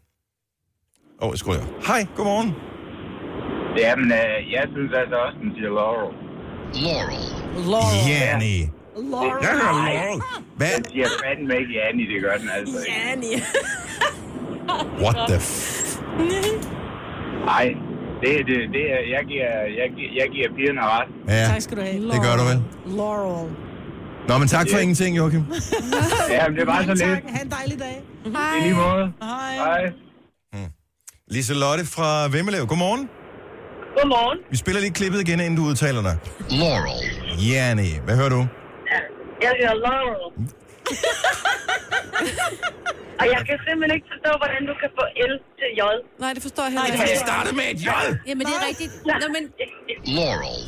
B: Åh, oh, jeg skruer jeg. Hej, godmorgen.
K: Jamen, øh, jeg synes altså også, den siger Laurel.
H: Laurel.
E: Laurel.
B: Jenny.
E: Laurel.
B: Jeg hedder Laurel. Hvad?
K: Den siger fandme ikke Annie, det gør den altså ikke.
C: Annie.
B: What the f-
K: Nej, det, det, det er, jeg giver, jeg, giver, jeg giver pigerne ret.
B: Ja,
E: Tak skal du have.
B: det gør du vel.
E: Laurel.
B: Nå, men tak for ingenting, Joachim.
K: Jamen, det var så
E: Mange
K: lidt.
E: tak. Ha' en dejlig dag.
K: I lige måde.
E: Hej.
K: Hej.
B: Lise Lotte fra Vemmelev. Godmorgen.
L: Godmorgen.
B: Vi spiller lige klippet igen, inden du udtaler dig.
H: Laurel.
B: Jenny, hvad hører du?
L: Jeg hedder Laurel. Og jeg kan simpelthen ikke forstå, hvordan du kan få L til J.
D: Nej, det forstår jeg heller ikke.
B: Det startede med et J.
C: Jamen, det er rigtigt. Nå, men,
H: Laurel.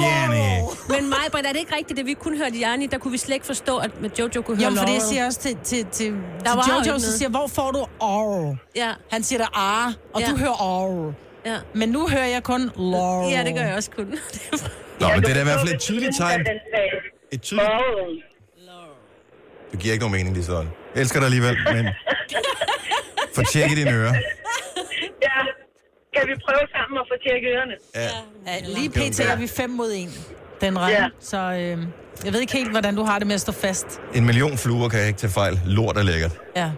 B: Jenny.
C: men mig, Britt, er det ikke rigtigt, at vi kun hørte Janni? Der kunne vi slet ikke forstå, at med Jojo kunne høre
E: Jamen, fordi jeg
C: Laurel.
E: siger også til, til, til,
C: Der var
E: til
C: jo
E: Jojo,
C: ikke
E: så
C: noget.
E: siger, hvor får du Aurel?
C: Ja,
E: Han siger der ar, og
C: Ja.
E: du hører Aurel.
C: ja.
E: Men nu hører jeg kun Laurel.
C: Ja, det gør jeg også kun.
B: Nå, men det er da i hvert fald et tydeligt tegn. Et tydeligt...
L: Laurel.
B: Det giver ikke nogen mening, Lise Lotte. Jeg elsker dig alligevel, men... Få tjekket dine ører.
L: Ja. Kan vi prøve sammen at få tjekket ørerne?
B: Ja.
E: Ja, lige
B: Kan
E: pt.
B: du gøre?
E: er vi 5 mod 1, den regn.
L: Ja.
E: Så øh, jeg ved ikke helt, hvordan du har det med at stå fast.
B: En million fluer kan jeg ikke tage fejl. Lort er lækkert.
E: Ja.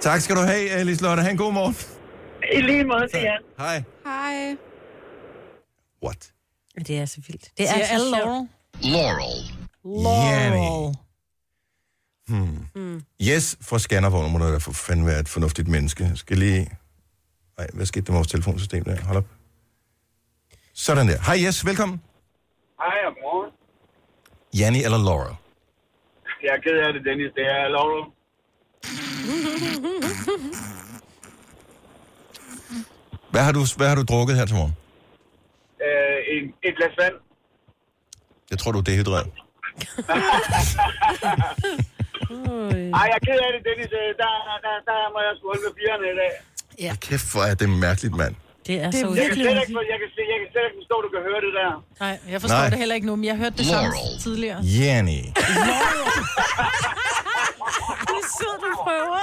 B: Tak skal du have, Lise Lotte. Ha' en god morgen.
L: I lige måde til jer.
B: Hej.
D: Hej.
B: What?
C: Det er så vildt. Det er
E: Siger
C: så
E: alle
C: sjovt.
E: Laurel?
H: Laurel.
E: Laurel.
B: Yes fra Skanderborg. Nu må du da for fanden være et fornuftigt menneske. Jeg skal lige... Ej, hvad skete der med vores telefonsystem der? Hold op. Sådan der. Hej, Yes. Velkommen.
K: Hej, og morgen.
B: Janni eller Laura?
K: Jeg er ked af det, Dennis. Det er Laurel.
B: Hvad har du, hvad har du drukket her til morgen?
K: Øh, en, et glas vand.
B: Jeg tror, du er dehydreret.
C: Mm.
K: Ej, jeg er ked af det, Dennis. Øh, Der, der, der må jeg sgu holde med pigerne i dag.
B: Ja. Kæft, hvor er det mærkeligt, mand.
C: Det er så
K: Jeg kan
C: virkelig
K: slet ikke, for- jeg kan, se- jeg kan slet ikke forstå, at du kan høre det der.
E: Nej, jeg forstår
B: Nej.
E: Nej. det heller ikke nu, men jeg hørte det samme
H: Laurel.
E: tidligere.
B: Jenny.
C: sød, du prøver.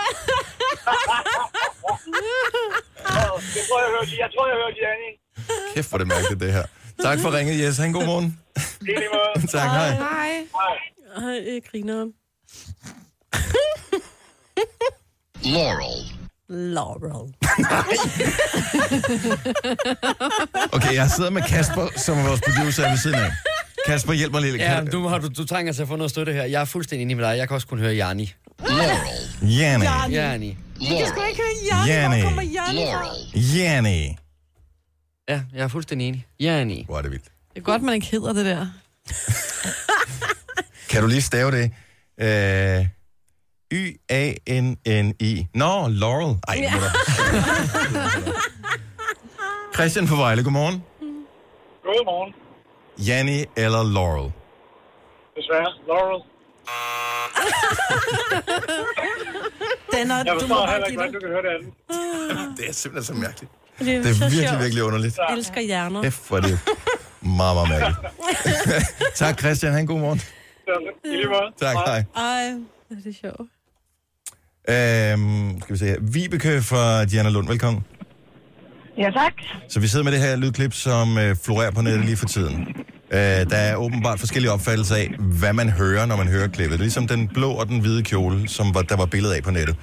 K: Jeg tror, jeg hørte, jeg tror, jeg hørte Janni.
B: Kæft, hvor er det mærkeligt, det her. Tak for ringet, Yes. Ha' en god morgen.
K: I lige måde.
B: tak, hej.
D: Hej.
C: Ej, jeg griner.
H: Laurel.
C: Laurel.
B: Okay, jeg sidder med Kasper, som er vores producer ved siden af. Kasper, hjælp mig lidt.
G: Ja, du, har, du, du trænger til at få noget støtte her. Jeg er fuldstændig enig med dig. Jeg kan også kun høre Jani.
H: Laurel.
B: Jenny.
G: Jani.
H: Laurel.
E: ikke høre
B: Janni.
E: Janni
H: Laurel.
B: Jenny.
G: Ja, jeg er fuldstændig enig. Jani.
B: Hvor er det vildt.
D: Det er godt, man ikke hedder det der.
B: Kan du lige stave det? Øh, Y-A-N-N-I. E. Nå, Laurel. Ej, ja. Christian fra Vejle, godmorgen.
K: Godmorgen.
B: Janni eller Laurel?
K: Desværre. Laurel.
E: Den er,
K: Jeg
E: du må
K: forstår
E: bare
K: heller ikke,
E: give
K: hvordan
E: det.
K: du kan høre det andet.
B: Det er simpelthen så mærkeligt.
C: Det er,
B: Det er
C: så
B: virkelig,
C: sjovt.
B: virkelig underligt.
C: Jeg elsker hjerner.
B: F for det. Meget, meget mærkeligt. tak, Christian. Han god morgen.
K: Så, I lige måde.
B: Tak, hej.
D: Ej.
C: Det er sjovt.
B: Øhm, skal vi se her. Vibeke fra Diana Lund, velkommen.
L: Ja, tak.
B: Så vi sidder med det her lydklip, som øh, florerer på nettet lige for tiden. Øh, der er åbenbart forskellige opfattelser af, hvad man hører, når man hører klippet. Ligesom den blå og den hvide kjole, som var, der var billede af på nettet.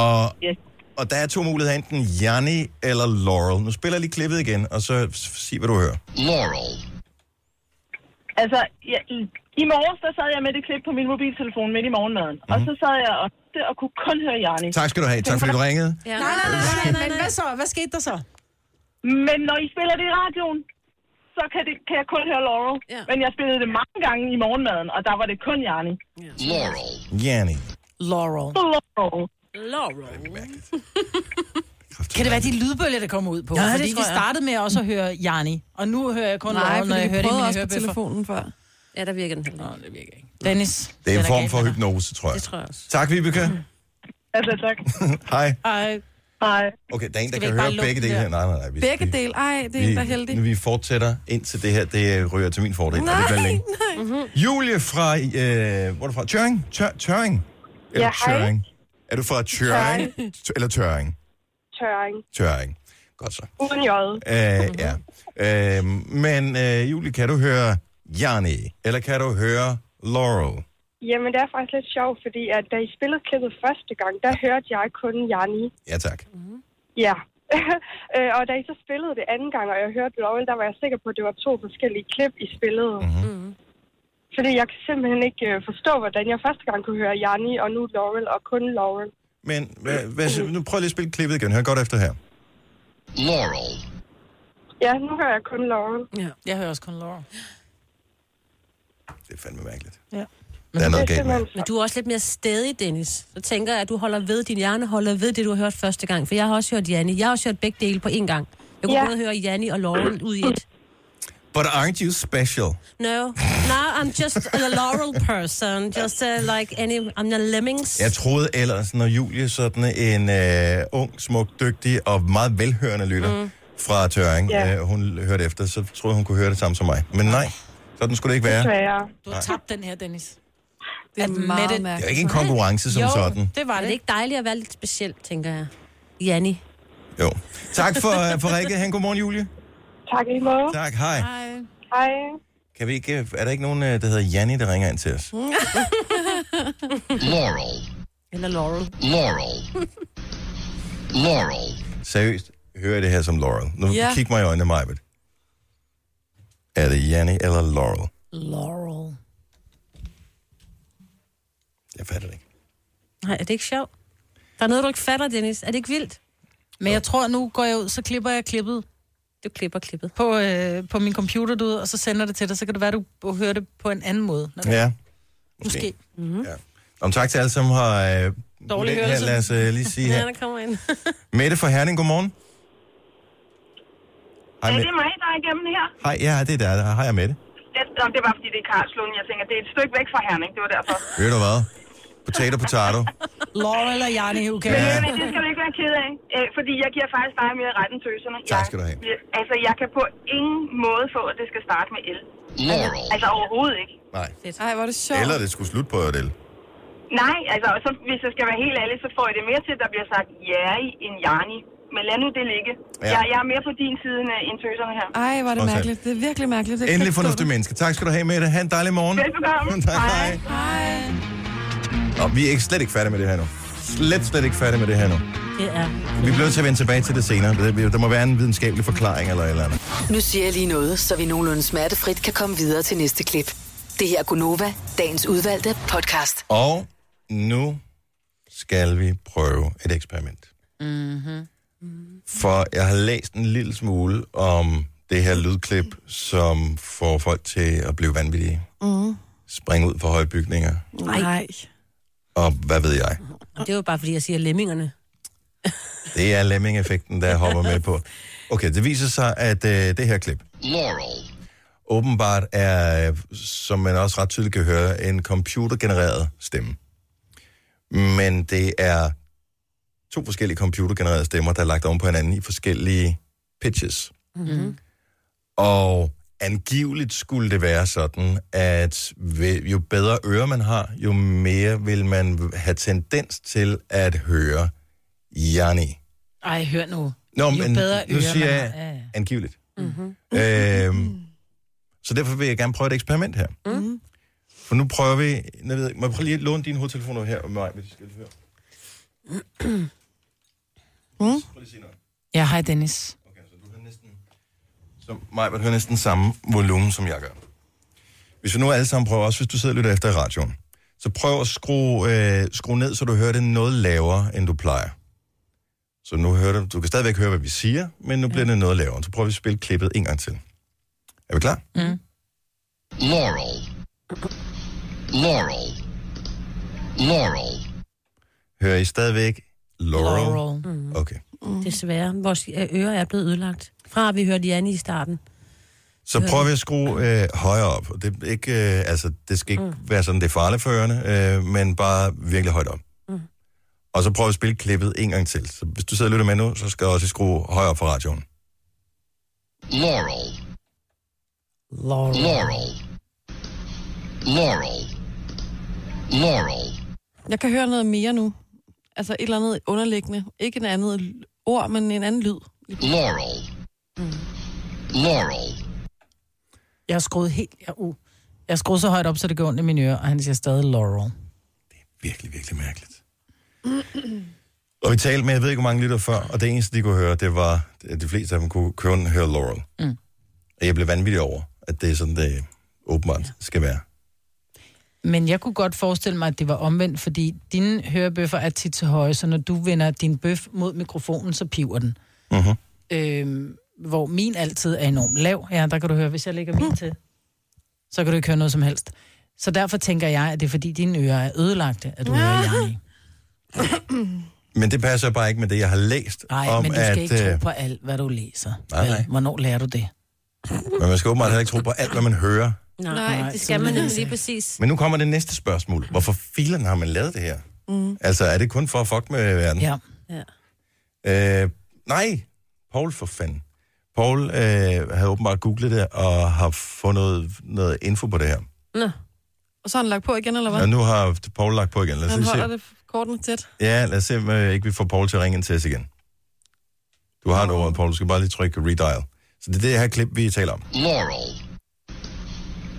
B: Og,
L: Yes.
B: og der er to muligheder, enten Janni eller Laurel. Nu spiller jeg lige klippet igen, og så s- sig, hvad du hører.
H: Laurel.
L: Altså, ja, i, i morges, der sad jeg med det klip på min mobiltelefon midt i morgenmaden. Mm. Og
G: Mhm.
L: så sad jeg og, og kunne kun høre Jarni.
B: Tak skal du have. Tak fordi du ringede.
C: Ja.
E: Nej, nej, nej, nej, nej, Men hvad så? Hvad skete der så?
L: Men når I spiller det i radioen, så kan, det, kan jeg kun høre Laurel.
C: Ja.
L: Men jeg spillede det mange gange i morgenmaden, og der var det kun Jarni.
H: Laurel.
B: Janni.
E: Laurel.
L: Laurel.
C: Laurel.
E: Kan det være de lydbølger, der kommer ud på?
C: Ja, det
E: fordi
C: tror
E: vi
C: jeg.
E: startede med også at høre Janni, og nu hører jeg kun
D: Nej,
E: Laurel, når
D: fordi
E: jeg
D: vi
E: hører det i
D: prøvede
E: mine
D: også på
E: hørebøffer.
D: telefonen før.
C: Ja, der virker den heller.
E: Nå, det virker ikke. Dennis.
B: Det er en
E: der
B: form
E: galt
B: for
E: med dig.
B: hypnose, tror jeg.
C: Det tror jeg også.
B: Tak, Vibeke.
L: Altså, tak.
B: Hej.
E: Ej,
I: Nej.
B: Okay, der er en, der
D: Skal vi
B: kan
D: ikke bare
B: høre
D: lukke
B: begge
D: den
B: dele.
D: der?
B: her. Nej, nej, nej. Vi,
D: Begge dele. Ej, det er en, der er heldig.
B: vi, vi fortsætter indtil det her det øh, ryger til min fordel. og det
D: Nej,
B: bliver længe.
D: nej. Mm-hmm.
B: Julie fra, øh, hvor er du fra? Tøring? Tør, tøring? Er
M: Ja,
B: du
M: hej.
B: tøring? Er du fra Tøring? Eller Tøring?
M: Tøring.
B: Tøring. Godt så.
M: Uden jøde.
B: Øh, ja. Øh, men øh, Julie, kan du høre Jani? Eller kan du høre Laurel?
M: Jamen, det er faktisk lidt sjovt, fordi at da I spillede klippet første gang, der hørte jeg kun Jani.
B: Ja, tak.
M: Ja. Øh, og da I så spillede det anden gang, og jeg hørte Laurel, der var jeg sikker på, at det var to forskellige klip, I spillede.
B: Mhm.
E: Mhm.
M: Mm-hmm. Fordi jeg kan simpelthen ikke øh, forstå, hvordan jeg første gang kunne høre Jani, og nu Laurel, og kun Laurel.
B: Men hvad, hvad, nu prøv lige at spille klippet igen. Hør godt efter her.
H: Laurel.
M: Ja, nu hører jeg kun Laurel.
C: Ja.
E: Jeg hører også kun Laura.
B: Det er fandme mærkeligt.
E: Ja.
B: Der er noget galt med.
C: Men du er også lidt mere stedig, Dennis. Så tænker jeg, at du holder ved, din hjerne holder ved det, du har hørt første gang. For jeg har også hørt Janni. Jeg har også hørt begge dele på én gang. Jeg kunne
M: Ja.
C: ja. både høre Janni og Laurel ud i et.
B: But aren't you special?
C: No, now I'm just a Laurel person. Just uh, like any, I'm a lemmings.
B: Jeg troede ellers, når Julie sådan en øh, ung, smuk, dygtig og meget velhørende lytter mm.
C: Mm.
B: fra Tøring,
M: Ja.
B: yeah. øh, hun hørte efter, så troede hun kunne høre det samme som mig. Men nej, sådan skulle det ikke være. Det
M: Desværre.
E: Du har tabt den her, Dennis.
D: Det er
E: Admit
D: meget
E: it.
B: er jo ikke en konkurrence som
E: jo,
B: sådan.
E: det
C: Var
E: var
C: det
E: det.
C: ikke dejligt at være lidt speciel, tænker jeg? Janni.
B: Jo. Tak for, øh, for Rikke. Han, godmorgen, Julie.
M: Tak i måde.
B: Tak, hej.
M: Hej.
B: Kan vi ikke, er der ikke nogen, øh, der hedder Janni, der ringer ind til os? Laurel.
C: Eller Laurel.
B: Laurel. Laurel. Seriøst, hører jeg det her som Laurel? Nu
E: Ja.
B: kig mig i øjnene, Majbet. Er det Janni eller Laurel?
E: Laurel.
B: Jeg fatter det ikke.
C: Nej, er det ikke sjovt? Der er noget, du ikke fatter, Dennis. Er det ikke vildt?
E: Men jeg tror, nu går jeg ud, så klipper jeg klippet.
C: Du klipper klippet.
E: På, øh, på min computer, du ved, og så sender det til dig. Så kan det være, du hører det på en anden måde. Når du...
B: Ja.
E: Måske. Mhm.
C: Mm-hmm.
B: Ja. Om tak til alle, som har... Øh,
E: Dårlig
B: lidt her,
E: hørelse.
B: Lad os øh, lige sige her.
C: der kommer ind.
B: Mette fra Herning, godmorgen. Hej,
N: Ja,
B: Mette.
N: det er mig, der er igennem her.
B: Hej, ja, det er der. Hej, jeg er Mette.
N: Det, nå, det var fordi, det er Karlslund. Jeg tænker, det er et stykke væk fra Herning. Det var derfor.
B: Ved du hvad? Potato, potato.
E: Laura eller Janne, okay?
N: Men øh, det skal du ikke være ked af, øh, fordi jeg giver faktisk dig mere retten tøserne.
B: Tak skal du have.
N: Jeg, altså, jeg kan på ingen måde få, at det skal starte med el.
B: Laurel.
N: Altså, overhovedet ikke.
B: Nej.
D: Ej, var det sjovt.
B: Eller det skulle slutte på et L.
N: Nej, altså, og så, hvis jeg skal være helt ærlig, så får jeg det mere til, at der bliver sagt ja i en Jani. Men lad nu det ligge.
B: Ja.
N: Ja. Jeg, jeg er mere på din side end, øh, end tøserne her.
D: Ej, var det
B: Også
D: mærkeligt. Det er virkelig mærkeligt. Det kan
B: Endelig
D: ikke
B: fornuftig menneske. Tak skal du have, Mette. Ha' en dejlig morgen.
N: Velbekomme.
B: tak, hej. Og vi er ikke, slet ikke færdige med det her nu. Slet, slet ikke færdige med det her nu.
C: Det er.
B: Vi bliver nødt til at vende tilbage til det senere. Der- Der må være en videnskabelig forklaring eller et eller andet.
A: Nu siger jeg lige noget, så vi nogenlunde smertefrit kan komme videre til næste klip. Det her er Gunova, dagens udvalgte podcast.
B: Og nu skal vi prøve et eksperiment.
E: Mm-hmm.
B: For jeg har læst en lille smule om det her lydklip, som får folk til at blive vanvittige.
D: Mm.
B: Springe ud fra høje bygninger,
D: Nej. Nej.
B: og hvad ved jeg.
C: Og det er jo bare, fordi jeg siger lemmingerne.
B: Det er lemming-effekten, der hopper med på. Okay, det viser sig, at øh, det her klip
H: Laurel.
B: åbenbart er, øh, som man også ret tydeligt kan høre, en computergenereret stemme. Men det er to forskellige computergenererede stemmer, der er lagt oven på hinanden i forskellige pitches.
H: Mm-hmm.
B: Og angiveligt skulle det være sådan, at ved- jo bedre ører man har, jo mere vil man have tendens til at høre Jani.
E: Ej, hør nu.
B: Nå,
E: jo
B: men
E: bedre
B: nu
E: ører
B: siger
E: man
B: jeg
E: har. Ja, ja.
B: angiveligt. Mm-hmm. Øhm, så derfor vil jeg gerne prøve et eksperiment her.
E: Mm.
B: For nu prøver vi... Jeg ved, ikke, må jeg prøve lige at låne dine hovedtelefoner her? Nej, hvis du skal lige høre.
E: Mm. Ja, hej Dennis.
B: Så mig vil høre næsten samme volumen, som jeg gør. Hvis vi nu alle sammen prøver, også hvis du sidder og lytter efter i radioen, så prøv at skrue, øh, skrue ned, så du hører det noget lavere, end du plejer. Så nu hører du, du kan stadigvæk høre, hvad vi siger, men nu bliver det noget lavere. Så prøver vi at spille klippet en gang til. Er vi klar?
E: Mm.
H: Laurel. Laurel. Laurel.
B: Hører I stadigvæk Laurel?
C: Laurel.
B: Mm. Okay.
C: Mm. Desværre. Vores øh, ører er blevet ødelagt. Fra at vi hørte Janni i starten.
B: Så prøver vi at skrue øh, højere op. Og Det, er ikke, øh, altså, det skal ikke mm. være sådan, det er farligt for ørerne, øh, men bare virkelig højt op. Mm. Og så prøv at spille klippet en gang til. Så hvis du sidder og lytter med nu, så skal du også skrue højere op for radioen.
H: Laurel.
E: Laurel.
H: Laurel. Laurel. Laurel.
D: Jeg kan høre noget mere nu. Altså et eller andet underliggende. Ikke en andet l- ord, men en anden lyd.
H: Laurel. Laurel.
E: Jeg har skruet helt... Jeg, uh, jeg har skruet så højt op, så det går ondt i mine ører, og han siger stadig Laurel.
B: Virkelig, virkelig mærkeligt.
E: Mm.
B: Og vi talte med, jeg ved ikke, hvor mange lytter før, og det eneste, de kunne høre, det var, at de fleste af dem kunne kun høre Laurel.
E: Mm.
B: Og jeg blev vanvittig over, at det er sådan, det åbenbart ja. skal være.
E: Men jeg kunne godt forestille mig, at det var omvendt, fordi dine hørebøffer er tit til høje, så når du vender din bøf mod mikrofonen, så piver den.
B: Mm-hmm.
E: Øhm, hvor min altid er enormt lav. Ja, der kan du høre, hvis jeg lægger min til, så kan du ikke høre noget som helst. Så derfor tænker jeg, at det er fordi dine ører er ødelagte, at du hører jeg.
B: Men det passer bare ikke med det, jeg har læst
E: Nej,
B: om,
E: men du skal
B: at...
E: ikke tro
B: øh,
E: på alt, hvad du læser.
B: Nej, nej.
E: Vel, Hvornår lærer du det?
B: Men man skal åbenbart heller ikke tro på alt, hvad man hører.
C: Nej, Nej det skal man nemlig lige præcis.
B: Men nu kommer det næste spørgsmål. Hvorfor filen har man lavet det her?
C: Mm.
B: Altså, er det kun for at fuck med verden?
E: Ja.
C: ja.
B: Øh, nej, Paul for fanden. Paul øh, havde åbenbart googlet det og har fundet noget info på det her.
D: Nå. Og så har han lagt på igen, eller hvad?
B: Og nu har Paul lagt på igen. Lad os
D: han
B: lige
D: holder
B: se.
D: det kortene tæt.
B: Ja, lad os se, om øh, ikke vi får Paul til at ringe ind til os igen. Du har et ord, Paul. Du skal bare lige trykke redial. Så det er det her klip, vi taler om.
H: Laurel.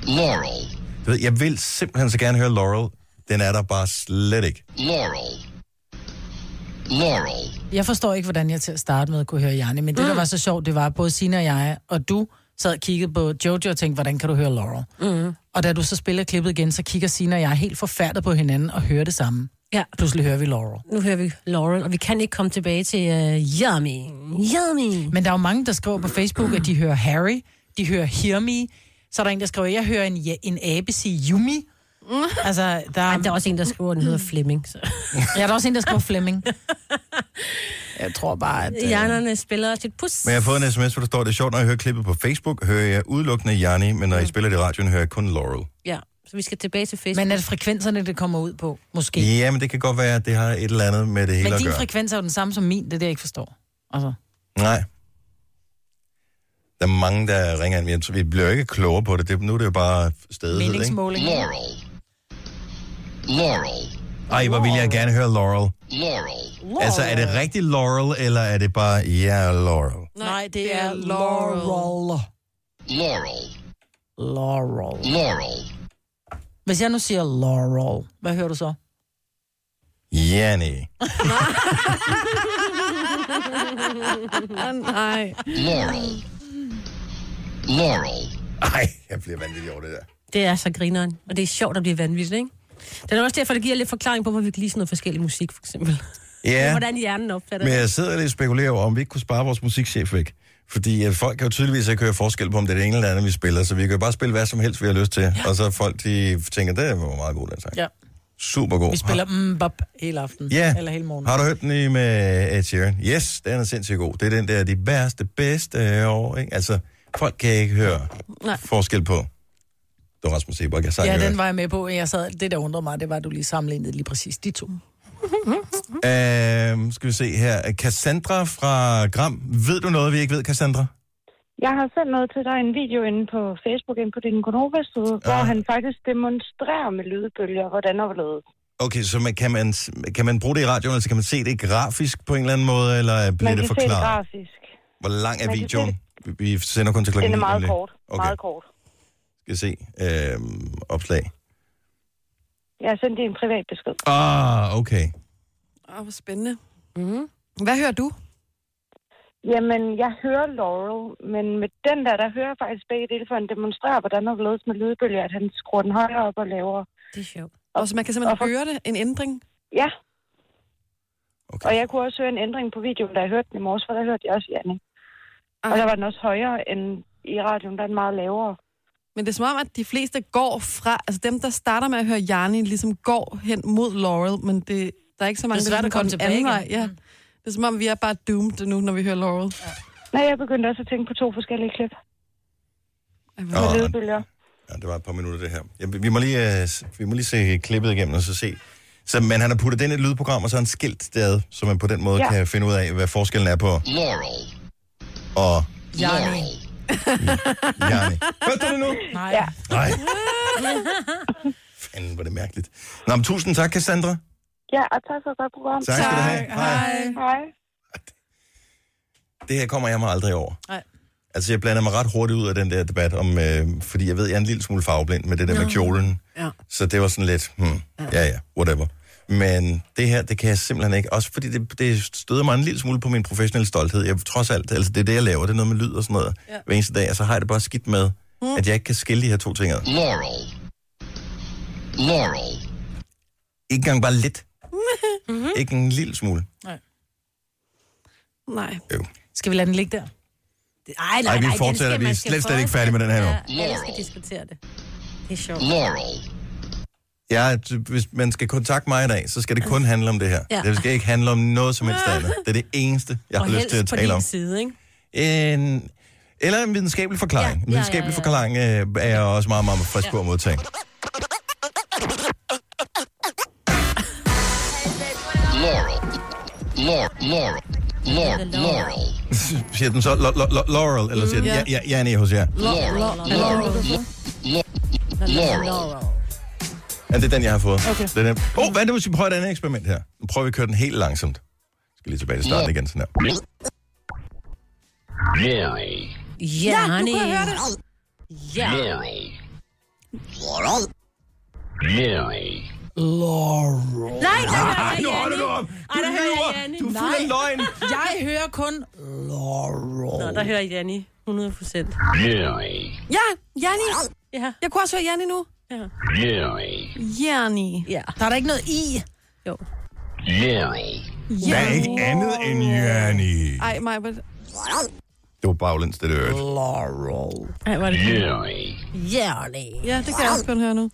H: Laurel.
B: Du ved, jeg vil simpelthen så gerne høre Laurel. Den er der bare slet ikke.
H: Laurel. Laurel.
E: Jeg forstår ikke, hvordan jeg til at starte med kunne høre Janne, men det, mm. der var så sjovt, det var, at både Sina og jeg og du sad og kiggede på Jojo og tænkte, hvordan kan du høre Laurel?
C: Mm.
E: Og da du så spiller klippet igen, så kigger Sina og jeg helt forfærdet på hinanden og hører det samme.
C: Ja.
E: Pludselig hører vi Laurel.
C: Nu hører vi Lauren, og vi kan ikke komme tilbage til uh, Yummy. Yummy.
E: Men der er jo mange, der skriver på Facebook, at de hører Harry, de hører Hear Me. Så er der en, der skriver, jeg hører en, ja, en abe sige Yumi. Altså, der, er... der er også en, der skriver, den hedder Flemming. Så. ja, der er også en, der skriver Flemming. Jeg tror bare, at...
C: Øh... Hjernerne spiller også et pus.
B: Men jeg har fået en sms, hvor der står, det er sjovt, når jeg hører klippet på Facebook, hører jeg udelukkende Jani, men
E: Mm.
B: når I spiller det i radioen, hører jeg kun Laurel.
C: Ja, så vi skal tilbage til Facebook.
E: Men er det frekvenserne, det kommer ud på? Måske.
B: Ja, men det kan godt være, at det har et eller andet med det hele
E: Men
B: at
E: din
B: gøre.
E: frekvens er jo den samme som min, det er det, jeg ikke forstår. Altså.
B: Nej. Der er mange, der ringer ind. Jeg tror, Vi bliver jo ikke klogere på det. det nu er det jo bare stedet, ikke?
E: Meningsmåling.
H: Laurel. Laurel.
B: Ej, hvor vil jeg gerne høre Laurel.
H: Laurel.
B: Altså, er det rigtig Laurel, eller er det bare, ja, yeah, Laurel?
E: Nej, det er Laurel.
H: Laurel.
E: Laurel.
H: Laurel.
E: Hvis jeg nu siger Laurel, hvad hører du så?
B: Janni.
D: ah, nej.
H: Laurel. Laurel.
B: Ej, jeg bliver vanvittig over det der.
C: Det er så grineren, og det er sjovt at blive vanvittig, ikke? Det er også derfor, det giver lidt forklaring på, hvorfor vi kan lide sådan noget forskellig musik, for eksempel.
B: Ja.
C: Og Hvordan hjernen opfatter
B: Men
C: det.
B: jeg sidder lidt og spekulerer over, om vi ikke kunne spare vores musikchef væk. Fordi at folk kan jo tydeligvis ikke høre forskel på, om det er det ene eller andet, vi spiller. Så vi kan jo bare spille hvad som helst, vi har lyst til. Ja. Og så folk, de tænker, det var meget god den sang.
E: Ja.
B: Super god.
E: Vi spiller mm, bop hele aften.
B: Ja.
E: Eller hele morgen.
B: Har du hørt den i med Ed Sheeran? Yes, den er sindssygt god. Det er den der, de værste, bedste år, ikke? Altså, folk kan ikke høre
E: Nej.
B: forskel på. Det var Rasmus Sebak, jeg sang
E: Ja, den var jeg med på. Jeg sad, det, der undrede mig, det var, at du lige sammenlignede lige præcis de to.
B: Øhm, skal vi se her. Cassandra fra Gram. Ved du noget, vi ikke ved, Cassandra?
O: Jeg har sendt noget til dig, en video inde på Facebook, inde på din Gonova-side, ja. hvor han faktisk demonstrerer med lydbølger, hvordan og hvorledes.
B: Okay, så man, kan, man, kan man bruge det i radioen, altså kan man se det grafisk på en eller anden måde, eller bliver
O: Man kan
B: det
O: se det
B: forklaret?
O: grafisk.
B: Hvor lang er
O: Man kan
B: videoen? Vi- Vi sender kun til klokken
O: Den er
B: ni,
O: meget
B: nemlig.
O: kort. Okay. Meget kort.
B: Skal se. Øhm, opslag.
O: Jeg har sendt det i en privat besked.
B: Ah, okay.
D: Åh, hvor spændende. Mm. Hvad hører du?
O: Jamen, jeg hører Laurel, men med den der, der hører jeg faktisk begge dele, for han demonstrerer, hvordan og hvorledes med lydbølger, at han skruer den højere op og lavere.
C: Det er sjovt.
D: Og så man kan simpelthen for... høre det, en ændring?
O: Ja. Okay. Og jeg kunne også høre en ændring på videoen, da jeg hørte den i morges, for der hørte jeg også Janne. Og der var den også højere end i radioen, der er den meget lavere.
D: Men det er som om, at de fleste går fra... Altså dem, der starter med at høre Jarni, ligesom går hen mod Laurel, men det, der er ikke så mange,
E: Det er svært
D: der
E: at komme
D: ligesom går den
E: tilbage
D: anden
E: igen. Mm.
D: vej. Ja. Det er som om, vi er bare doomed nu, når vi hører Laurel.
O: Nej, jeg begyndte også at tænke på to forskellige klip.
B: Nå,
O: Med lydbølger.
B: Ja, det var et par minutter, det her. Ja, vi, vi må lige, øh, s- vi må lige se klippet igennem, og så se. Så, men han har puttet den i et lydprogram, og så har han skilt stadig, så man på den måde
G: Ja.
B: ja. kan finde ud af, hvad forskellen er på
H: Laurel.
B: og...
H: Laurel.
B: Jarni. Hørte du det nu?
E: Nej.
G: Ja.
B: Nej, fanden, hvor er det mærkeligt. Nå, men tusind tak, Cassandra.
G: ja, og tak for et godt program.
B: Tak skal du have. Tak. Hej.
G: Hej.
B: Det her kommer jeg mig aldrig over.
G: Nej.
B: Altså, jeg blander mig ret hurtigt ud af den der debat om... Øh, fordi jeg ved, jeg er en lille smule farveblind med det der
G: Nå.
B: med kjolen.
G: Ja.
B: Så det var sådan lidt, hmm, ja ja, whatever. Men det her, det kan jeg simpelthen ikke. Også fordi det, det støder mig en lille smule på min professionelle stolthed. Jeg, trods alt, altså det er det, jeg laver. Det er noget med lyd og sådan noget ja. hver eneste dag. Og så har jeg det bare skidt med,
H: Mm.
B: at jeg ikke kan skille de her to ting ad.
H: Laurel. Laurel.
B: Ikke engang bare lidt. Ikke en lille smule.
D: Nej.
B: Jo.
E: Skal vi lade den ligge der?
C: Ej,
B: Ej, vi fortsætter. Vi er slet, slet ikke færdige med den her nu.
C: Ja, alle skal diskutere det. Det er sjovt.
H: Laurel.
B: Ja, t- hvis man skal kontakte mig i dag, så skal det kun handle om det her.
C: Ja.
B: Ja. Det skal ikke handle om noget som helst andet. Det er det eneste, jeg har
C: Og
B: lyst til at
C: helst på
B: tale
C: din
B: om.
C: side, ikke?
B: En, eller en videnskabelig forklaring. Ja, en videnskabelig ja, ja, ja. forklaring øh, er jeg også meget, meget frisk ja. på at modtage.
H: Laurel. Laurel. Laurel. Laurel. Laurel.
B: siger den så lo- lo- lo- Laurel, eller siger den,
H: Ja.
B: Mm, ja, ja, ja, nej, hos jer.
H: Laurel. Laurel. Laurel.
B: Ja, det er den, jeg har fået.
H: Okay.
B: Det er den. Oh, hvad er det, hvis vi prøver et andet eksperiment her? Nu prøver vi at køre den helt langsomt. Jeg skal lige tilbage til starten igen, sådan her.
C: Ja, ja
G: nu kan jeg høre det.
C: Ja.
H: Laurel. Laurel.
E: Laurel.
C: Nej, der hører
E: Nej,
C: jeg
E: nu holder
C: Janni.
E: du op.
C: Ej, der
E: Du
C: hører jeg
E: lyver.
C: Janni.
E: Du er fuld af
C: Nej.
E: løgn. Jeg hører kun Laurel.
C: Nå, der hører jeg Janni. 100 procent.
D: Ja, Janni. Ja. Jeg kunne også høre Janni nu. Ja. Janni.
C: Ja.
E: Der er der ikke noget i.
C: Jo.
B: Der er ikke andet end Jørni.
D: Ej, mig, but...
B: Det var baglæns, det der øvrigt.
E: Laurel.
C: Ej, var det
E: Janni.
D: Ja, det kan jeg også godt høre nu.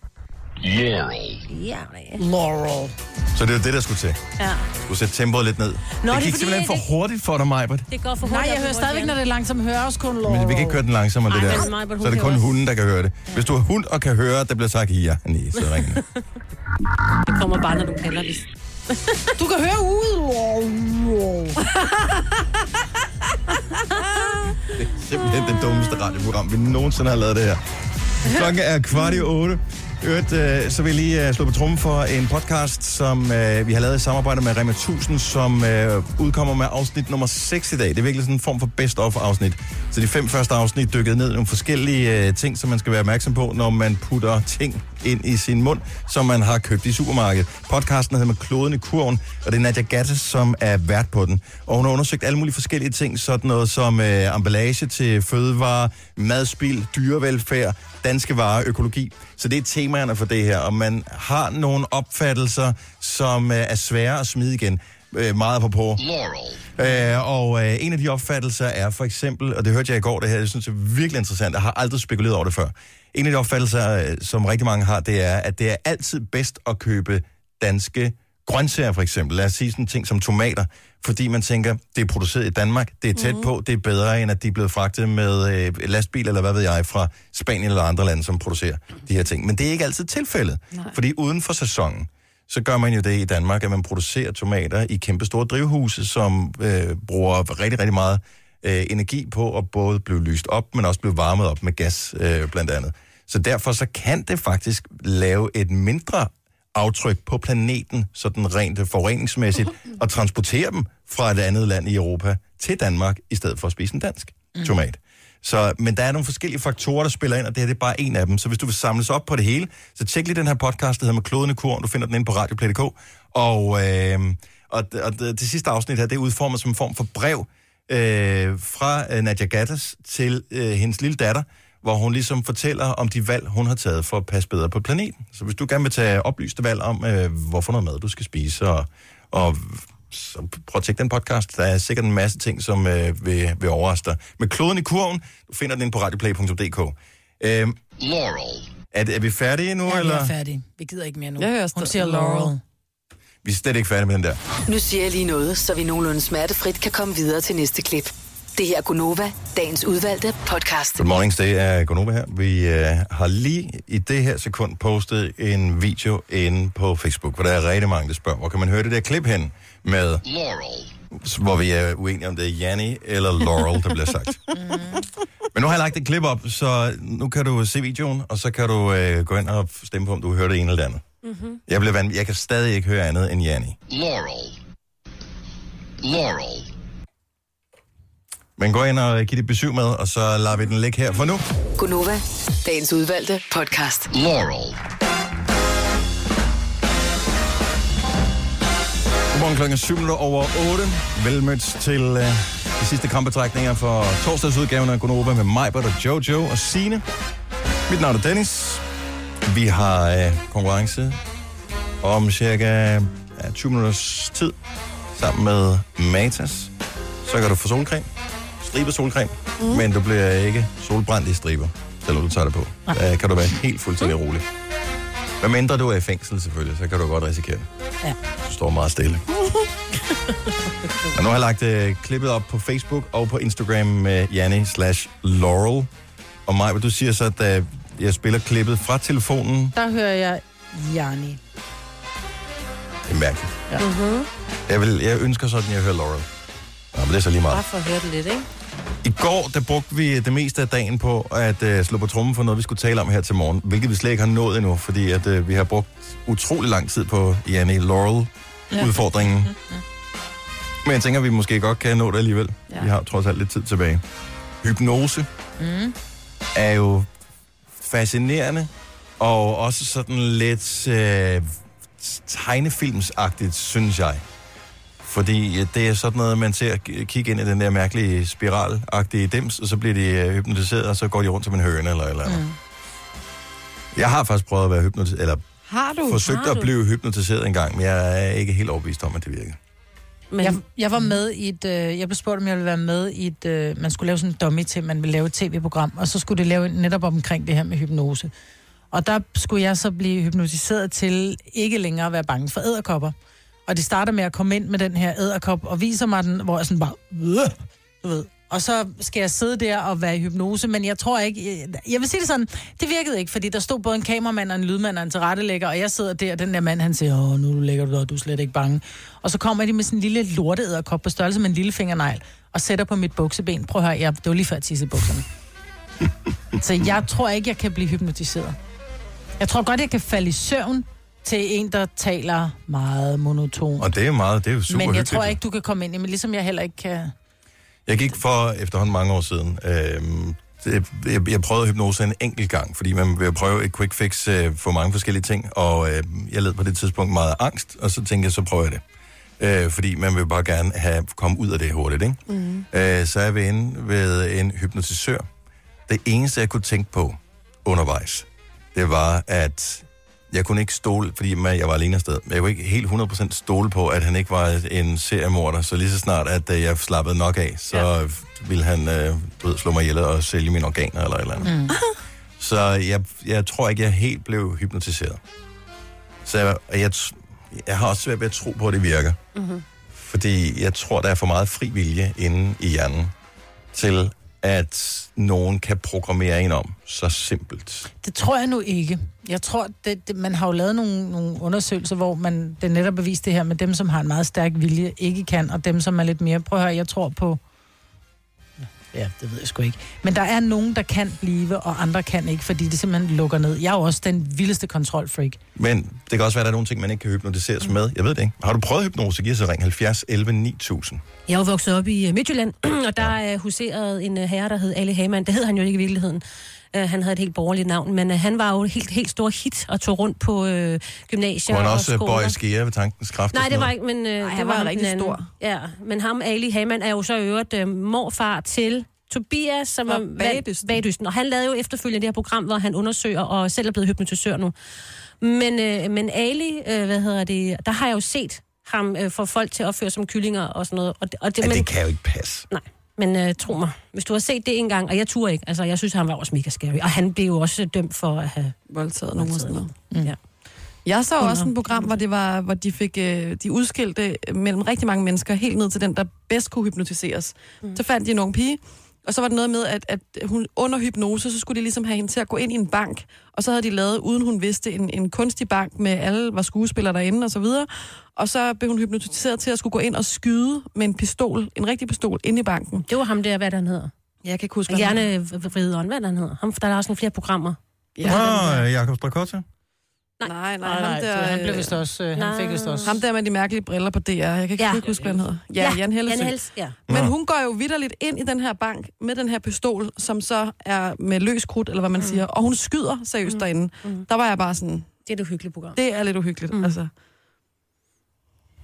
C: Janni.
E: Laurel.
B: Så det er det, der skulle til.
C: Ja.
B: Du skulle sætte tempoet lidt ned.
E: det er
B: det gik
E: fordi,
B: simpelthen for
E: det-
B: hurtigt for dig, Majbert.
C: Det går for
E: Nej,
C: hurtigt
E: jeg
C: op
E: hører
C: i
E: stadigvæk,
C: vores
E: når det er langsomt, hører også kun Laurel.
B: Men vi kan ikke køre den langsommere, det
E: Ej,
B: der.
E: men Maj-Brit, hun
B: så er det
E: kan
B: kun
E: også.
B: hunden, der kan høre det. Hvis du er hund og kan høre, der bliver sagt ja, nej, så ring nu.
C: Det kommer bare, når du kalder det.
E: Du kan høre ud. Laurel.
B: Det er simpelthen det dummeste radioprogram, vi nogensinde har lavet det her. Klokken er kvart i otte. I Øvrigt, øh, så vil jeg lige øh, slå på trummen for en podcast, som øh, vi har lavet i samarbejde med Rema 1000, som øh, udkommer med afsnit nummer 6 i dag. Det er virkelig sådan en form for best-of-afsnit. Så de fem første afsnit dykkede ned i nogle forskellige øh, ting, som man skal være opmærksom på, når man putter ting ind i sin mund, som man har købt i supermarkedet. Podcasten hedder med kloden i kurven, og det er Nadia Gatte, som er vært på den. Og hun har undersøgt alle mulige forskellige ting, sådan noget som øh, emballage til fødevarer, madspil, dyrevelfærd, danske varer, økologi. Så det er temaerne for det her, og man har nogle opfattelser, som øh, er svære at smide igen. Øh, meget på på. Øh, og øh, en af de opfattelser er for eksempel, og det hørte jeg i går, det her, jeg synes det er virkelig interessant, jeg har aldrig spekuleret over det før. En af de opfattelser, øh, som rigtig mange har, det er, at det er altid bedst at købe danske grøntsager for eksempel. Lad os sige sådan ting som tomater, fordi man tænker, det er produceret i Danmark, det er tæt på, det er bedre end at de er blevet fragtet med øh, lastbil eller hvad ved jeg fra Spanien eller andre lande, som producerer de her ting. Men det er ikke altid tilfældet, Nej. fordi uden for sæsonen, så gør man jo det i Danmark, at man producerer tomater i kæmpe store drivhuse, som øh, bruger rigtig, rigtig meget øh, energi på at både blive lyst op, men også blive varmet op med gas øh, blandt andet. Så derfor så kan det faktisk lave et mindre aftryk på planeten, sådan rent øh, forureningsmæssigt, og transportere dem fra et andet land i Europa til Danmark, i stedet for at spise en dansk
K: Mm.
B: tomat. Så, men der er nogle forskellige faktorer, der spiller ind, og det her det er bare en af dem. Så hvis du vil samles op på det hele, så tjek lige den her podcast, der hedder Med Kloden i Kurven. Du finder den inde på radioplay.dk. Og, øh, og, og det, det sidste afsnit her, det er udformet som en form for brev øh, fra øh, Nadia Gattas til øh, hendes lille datter, hvor hun ligesom fortæller om de valg, hun har taget for at passe bedre på planeten. Så hvis du gerne vil tage oplyste valg om, øh, hvorfor noget mad du skal spise, og, og så prøv at tjekke den podcast. Der er sikkert en masse ting, som øh, vil, vil overraske dig. Med kloden i kurven, du finder den inde på radioplay.dk. Øh, er, det- er vi færdige nu,
E: Ja, vi
B: eller?
E: er færdige. Vi gider ikke mere nu.
A: Jeg hører
E: Hun
A: stadig
E: siger Laurel.
B: Vi er slet ikke færdige med den der.
A: Nu siger jeg lige noget, så vi nogenlunde smertefrit kan komme videre til næste klip. Det her er Gunova, dagens udvalgte podcast.
B: Good mornings, det er Gunova her. Vi øh, har lige i det her sekund postet en video inde på Facebook, hvor der er rigtig mange, der spørger, hvor kan man høre det der klip hen med, hvor vi er uenige om det er Janni eller Laurel, der bliver sagt. Men nu har jeg lagt et klip op, så nu kan du se videoen, og så kan du øh, gå ind og stemme på, om du hører det ene eller det andet.
H: Mm-hmm.
B: Jeg, bliver vanv- jeg kan stadig ikke høre andet end Janni.
H: Laurel. Laurel.
B: Men gå ind og giv det besøg med, og så lader vi den ligge her for nu.
A: Gunova, dagens udvalgte podcast.
H: Laurel.
B: Godmorgen klokken er syv minutter over 8. Velmødt til øh, de sidste kampbetrækninger for torsdagsudgaven af Gonova med Majbert og Jojo og Sine. Mit navn er Dennis. Vi har øh, konkurrence om cirka ja, 20 minutters tid sammen med Matas. Så kan du få solcreme. Stribet solcreme. Mm. Men du bliver ikke solbrændt i striber, selvom du tager det på. Der kan du være helt fuldstændig rolig. Hvad mindre du er i fængsel selvfølgelig, så kan du godt risikere det.
E: Ja.
B: Du står meget stille. Og nu har jeg lagt øh, klippet op på Facebook og på Instagram med Janne slash Laurel. Og Maja, du siger så, at øh, jeg spiller klippet fra telefonen.
E: Der hører jeg Jani.
B: Det er mærkeligt.
E: Ja. Mm-hmm.
B: Jeg, vil, jeg ønsker sådan, at jeg hører Laurel. Nå, men det er så lige meget.
C: Bare for at høre det lidt, ikke?
B: I går, der brugte vi det meste af dagen på at øh, slå på trummen for noget, vi skulle tale om her til morgen. Hvilket vi slet ikke har nået endnu, fordi at, øh, vi har brugt utrolig lang tid på Janne Laurel-udfordringen. Men jeg tænker, at vi måske godt kan nå det alligevel. Ja. Vi har trods alt lidt tid tilbage. Hypnose
E: Mm.
B: er jo fascinerende, og også sådan lidt øh, tegnefilmsagtigt, synes jeg. Fordi øh, det er sådan noget, man ser k- kigge ind i den der mærkelige spiralagtige dims, og så bliver de øh, hypnotiseret, og så går de rundt som en høne eller et eller andet. Mm. Jeg har faktisk prøvet at være hypnotiseret, eller
D: Mm. Uh, Har du?
B: forsøgt
D: har
B: at
D: du?
B: blive hypnotiseret en gang, men jeg er ikke helt overbevist om, at det virker.
E: Men... Jeg, jeg var med i et, øh, jeg blev spurgt, om jeg ville være med i et, øh, man skulle lave sådan en dummy til, man ville lave et tv-program, og så skulle det lave netop omkring det her med hypnose. Og der skulle jeg så blive hypnotiseret til ikke længere at være bange for æderkopper. Og det starter med at komme ind med den her æderkop og viser mig den, hvor jeg sådan bare, "Uah," du ved. Og så skal jeg sidde der og være i hypnose, men jeg tror ikke, jeg, jeg vil sige det sådan, det virkede ikke, fordi der stod både en kameramand og en lydmand og en tilrettelægger, og jeg sidder der, og den der mand, han siger, åh, nu ligger du der, og du er slet ikke bange. Og så kommer de med sådan en lille lorteæderkop på størrelse med en lille fingernegl, og sætter på mit bukseben. Prøv at høre, jeg, det var lige før jeg tissede i bukserne. Så jeg tror ikke, jeg kan blive hypnotiseret. Jeg tror godt, jeg kan falde i søvn til en, der taler meget monoton.
B: Og det er meget, det er jo super
E: Men jeg
B: hyggeligt.
E: tror ikke, du kan komme ind i, men ligesom jeg heller ikke kan...
B: Jeg gik for efterhånden mange år siden. Øhm, det- jeg, jeg prøvede hypnose en enkelt gang, fordi man vil prøve et quick fix øh, for mange forskellige ting, og øh, jeg led på det tidspunkt meget af angst, og så tænkte jeg, så prøver jeg det. Øh, fordi man vil bare gerne have komme ud af det hurtigt, ikke? Mm. Øh, så er vi inde ved en hypnotisør. Det eneste, jeg kunne tænke på undervejs, det var, at jeg kunne ikke stole, fordi man- jeg var alene afsted, men jeg kunne ikke helt 100% stole på, at han ikke var en seriemorder, så lige så snart, at øh, jeg slappede nok af, så ja. ville han øh, du ved, slå mig ihjel og sælge mine organer eller et eller andet. Mm. Så jeg, jeg tror ikke, jeg helt blev hypnotiseret. Så jeg, og jeg, t- jeg har også svært ved at tro på, at det virker.
H: Mm-hmm.
B: Fordi jeg tror, der er for meget fri vilje inde i hjernen til, at nogen kan programmere en om så simpelt.
E: Det tror jeg nu ikke. Jeg tror, det, det, man har jo lavet nogle, nogle undersøgelser, hvor man det er netop er vist det her med dem, som har en meget stærk vilje, ikke kan, og dem, som er lidt mere... Prøv at høre, jeg tror på... Ja, det ved jeg sgu ikke. Men der er nogen, der kan blive, og andre kan ikke, fordi det simpelthen lukker ned. Jeg er jo også den vildeste kontrolfreak.
B: Men det kan også være, at der er nogle ting, man ikke kan hypnotiseres med. Jeg ved det ikke. Har du prøvet hypnose, giv så ring 70 11 9000.
C: Jeg er jo vokset op i øh, Midtjylland, og der ja. huserede en øh, herre, der hed Ali Hamann. Det hed han jo ikke i virkeligheden. Øh, Han havde et helt borgerligt navn, men øh, han var jo et helt, helt stor hit og tog rundt på øh, gymnasier
B: Må han
C: og
B: også øh,
C: skoler.
B: bøje skære ved tankens kraft? og
C: Nej,
B: sådan
C: det var
B: noget?
C: ikke, men øh, Ej,
D: han
C: det
D: var
C: var, den
D: rigtig
C: anden.
D: stor.
C: Ja, men ham, Ali Hamann, er jo så i øvrigt øh, morfar til Tobias, som
D: Og
C: var
D: Bagdysten.
C: bagdysten. Og han lavede jo efterfølgende det her program, hvor han undersøger og selv er blevet hypnotisør nu. Men, øh, men Ali, øh, hvad hedder det, der har jeg jo set ham øh, få folk til at opføre sig som kyllinger og sådan noget. Og det, og det,
B: Ja,
C: men,
B: det kan jo ikke passe.
C: Nej, men øh, tro mig, hvis du har set det engang, og jeg turde ikke, altså jeg synes, han var også mega scary. Og han blev jo også dømt for at have
D: voldtaget nogen og sådan noget.
C: Mm. Ja.
D: Jeg så også et program, hvor, det var, hvor de fik øh, de udskilte mellem rigtig mange mennesker, helt ned til den, der bedst kunne hypnotiseres. Mm. Så fandt de en ung pige, og så var det noget med, at, at hun under hypnose, så skulle de ligesom have hende til at gå ind i en bank. Og så havde de lavet, uden hun vidste, en, en kunstig bank med alle var skuespillere derinde og så videre. Og så blev hun hypnotiseret til at skulle gå ind og skyde med en pistol, en rigtig pistol, ind i banken.
C: Det var ham der, hvad han hedder.
D: Jeg kan ikke huske, hvad han
C: Hjerne vride hvad han hedder. Ham, der er også nogle flere programmer.
B: Ja. Nå, Jakob Strakota.
D: Nej, nej,
E: nej,
D: ham
E: nej,
D: der,
E: så Altså, han blev
D: øh,
E: vist også, øh, han fik vist også-
D: Ham der med de mærkelige briller på DR, jeg kan ikke ja. huske, hvad han hedder. Ja, ja, Jan Hellesø.
C: Jan Helles, ja.
D: Men hun går jo vidderligt ind i den her bank med den her pistol, som så er med løs krudt, eller hvad man mm. siger, og hun skyder seriøst mm. derinde. Mm. Der var jeg bare sådan...
C: Det er et uhyggeligt program.
D: Det er lidt uhyggeligt, mm. altså.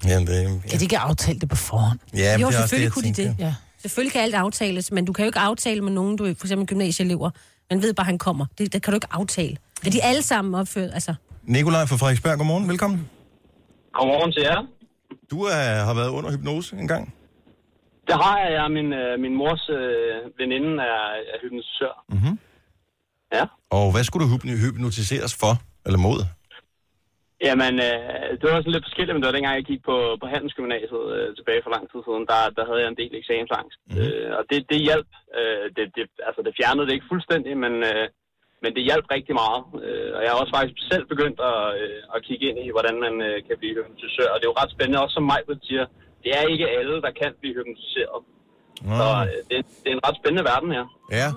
B: Jamen, det,
E: Kan de ikke aftale det på forhånd?
B: ja, men
C: jo,
B: det er også det,
C: selvfølgelig
B: jeg
C: kunne de
B: tænker.
C: det. Ja. Selvfølgelig kan alt aftales, men du kan jo ikke aftale med nogen, du for eksempel gymnasieelever. Man ved bare, han kommer. Det, det kan du ikke aftale. Er de alle sammen opført? Altså,
B: Nikolaj fra Frederiksberg, godmorgen. Velkommen.
K: Godmorgen til jer.
B: Du er, har været under hypnose engang.
K: Det har jeg. jeg er min, øh, min mors øh, veninde er, er hypnotisør.
B: Mm-hmm.
K: Ja.
B: Og hvad skulle du hypno- hypnotiseres for? Eller mod?
K: Jamen, øh, det var sådan lidt forskelligt, men det var dengang, jeg gik på, på Handelsgymnasiet øh, tilbage for lang tid siden. Der, der havde jeg en del eksamensangst. Mm. Øh, og det, det hjalp. Øh, det, det, altså, det fjernede det ikke fuldstændig, men, øh, men det hjalp rigtig meget. Øh, og jeg har også faktisk selv begyndt at, øh, at kigge ind i, hvordan man øh, kan blive hypnotisør. Og det er jo ret spændende, også som mig siger, det er ikke alle, der kan blive hypnotiseret. Så
B: Mhm.
K: øh, det, det er en ret spændende verden her.
B: Ja.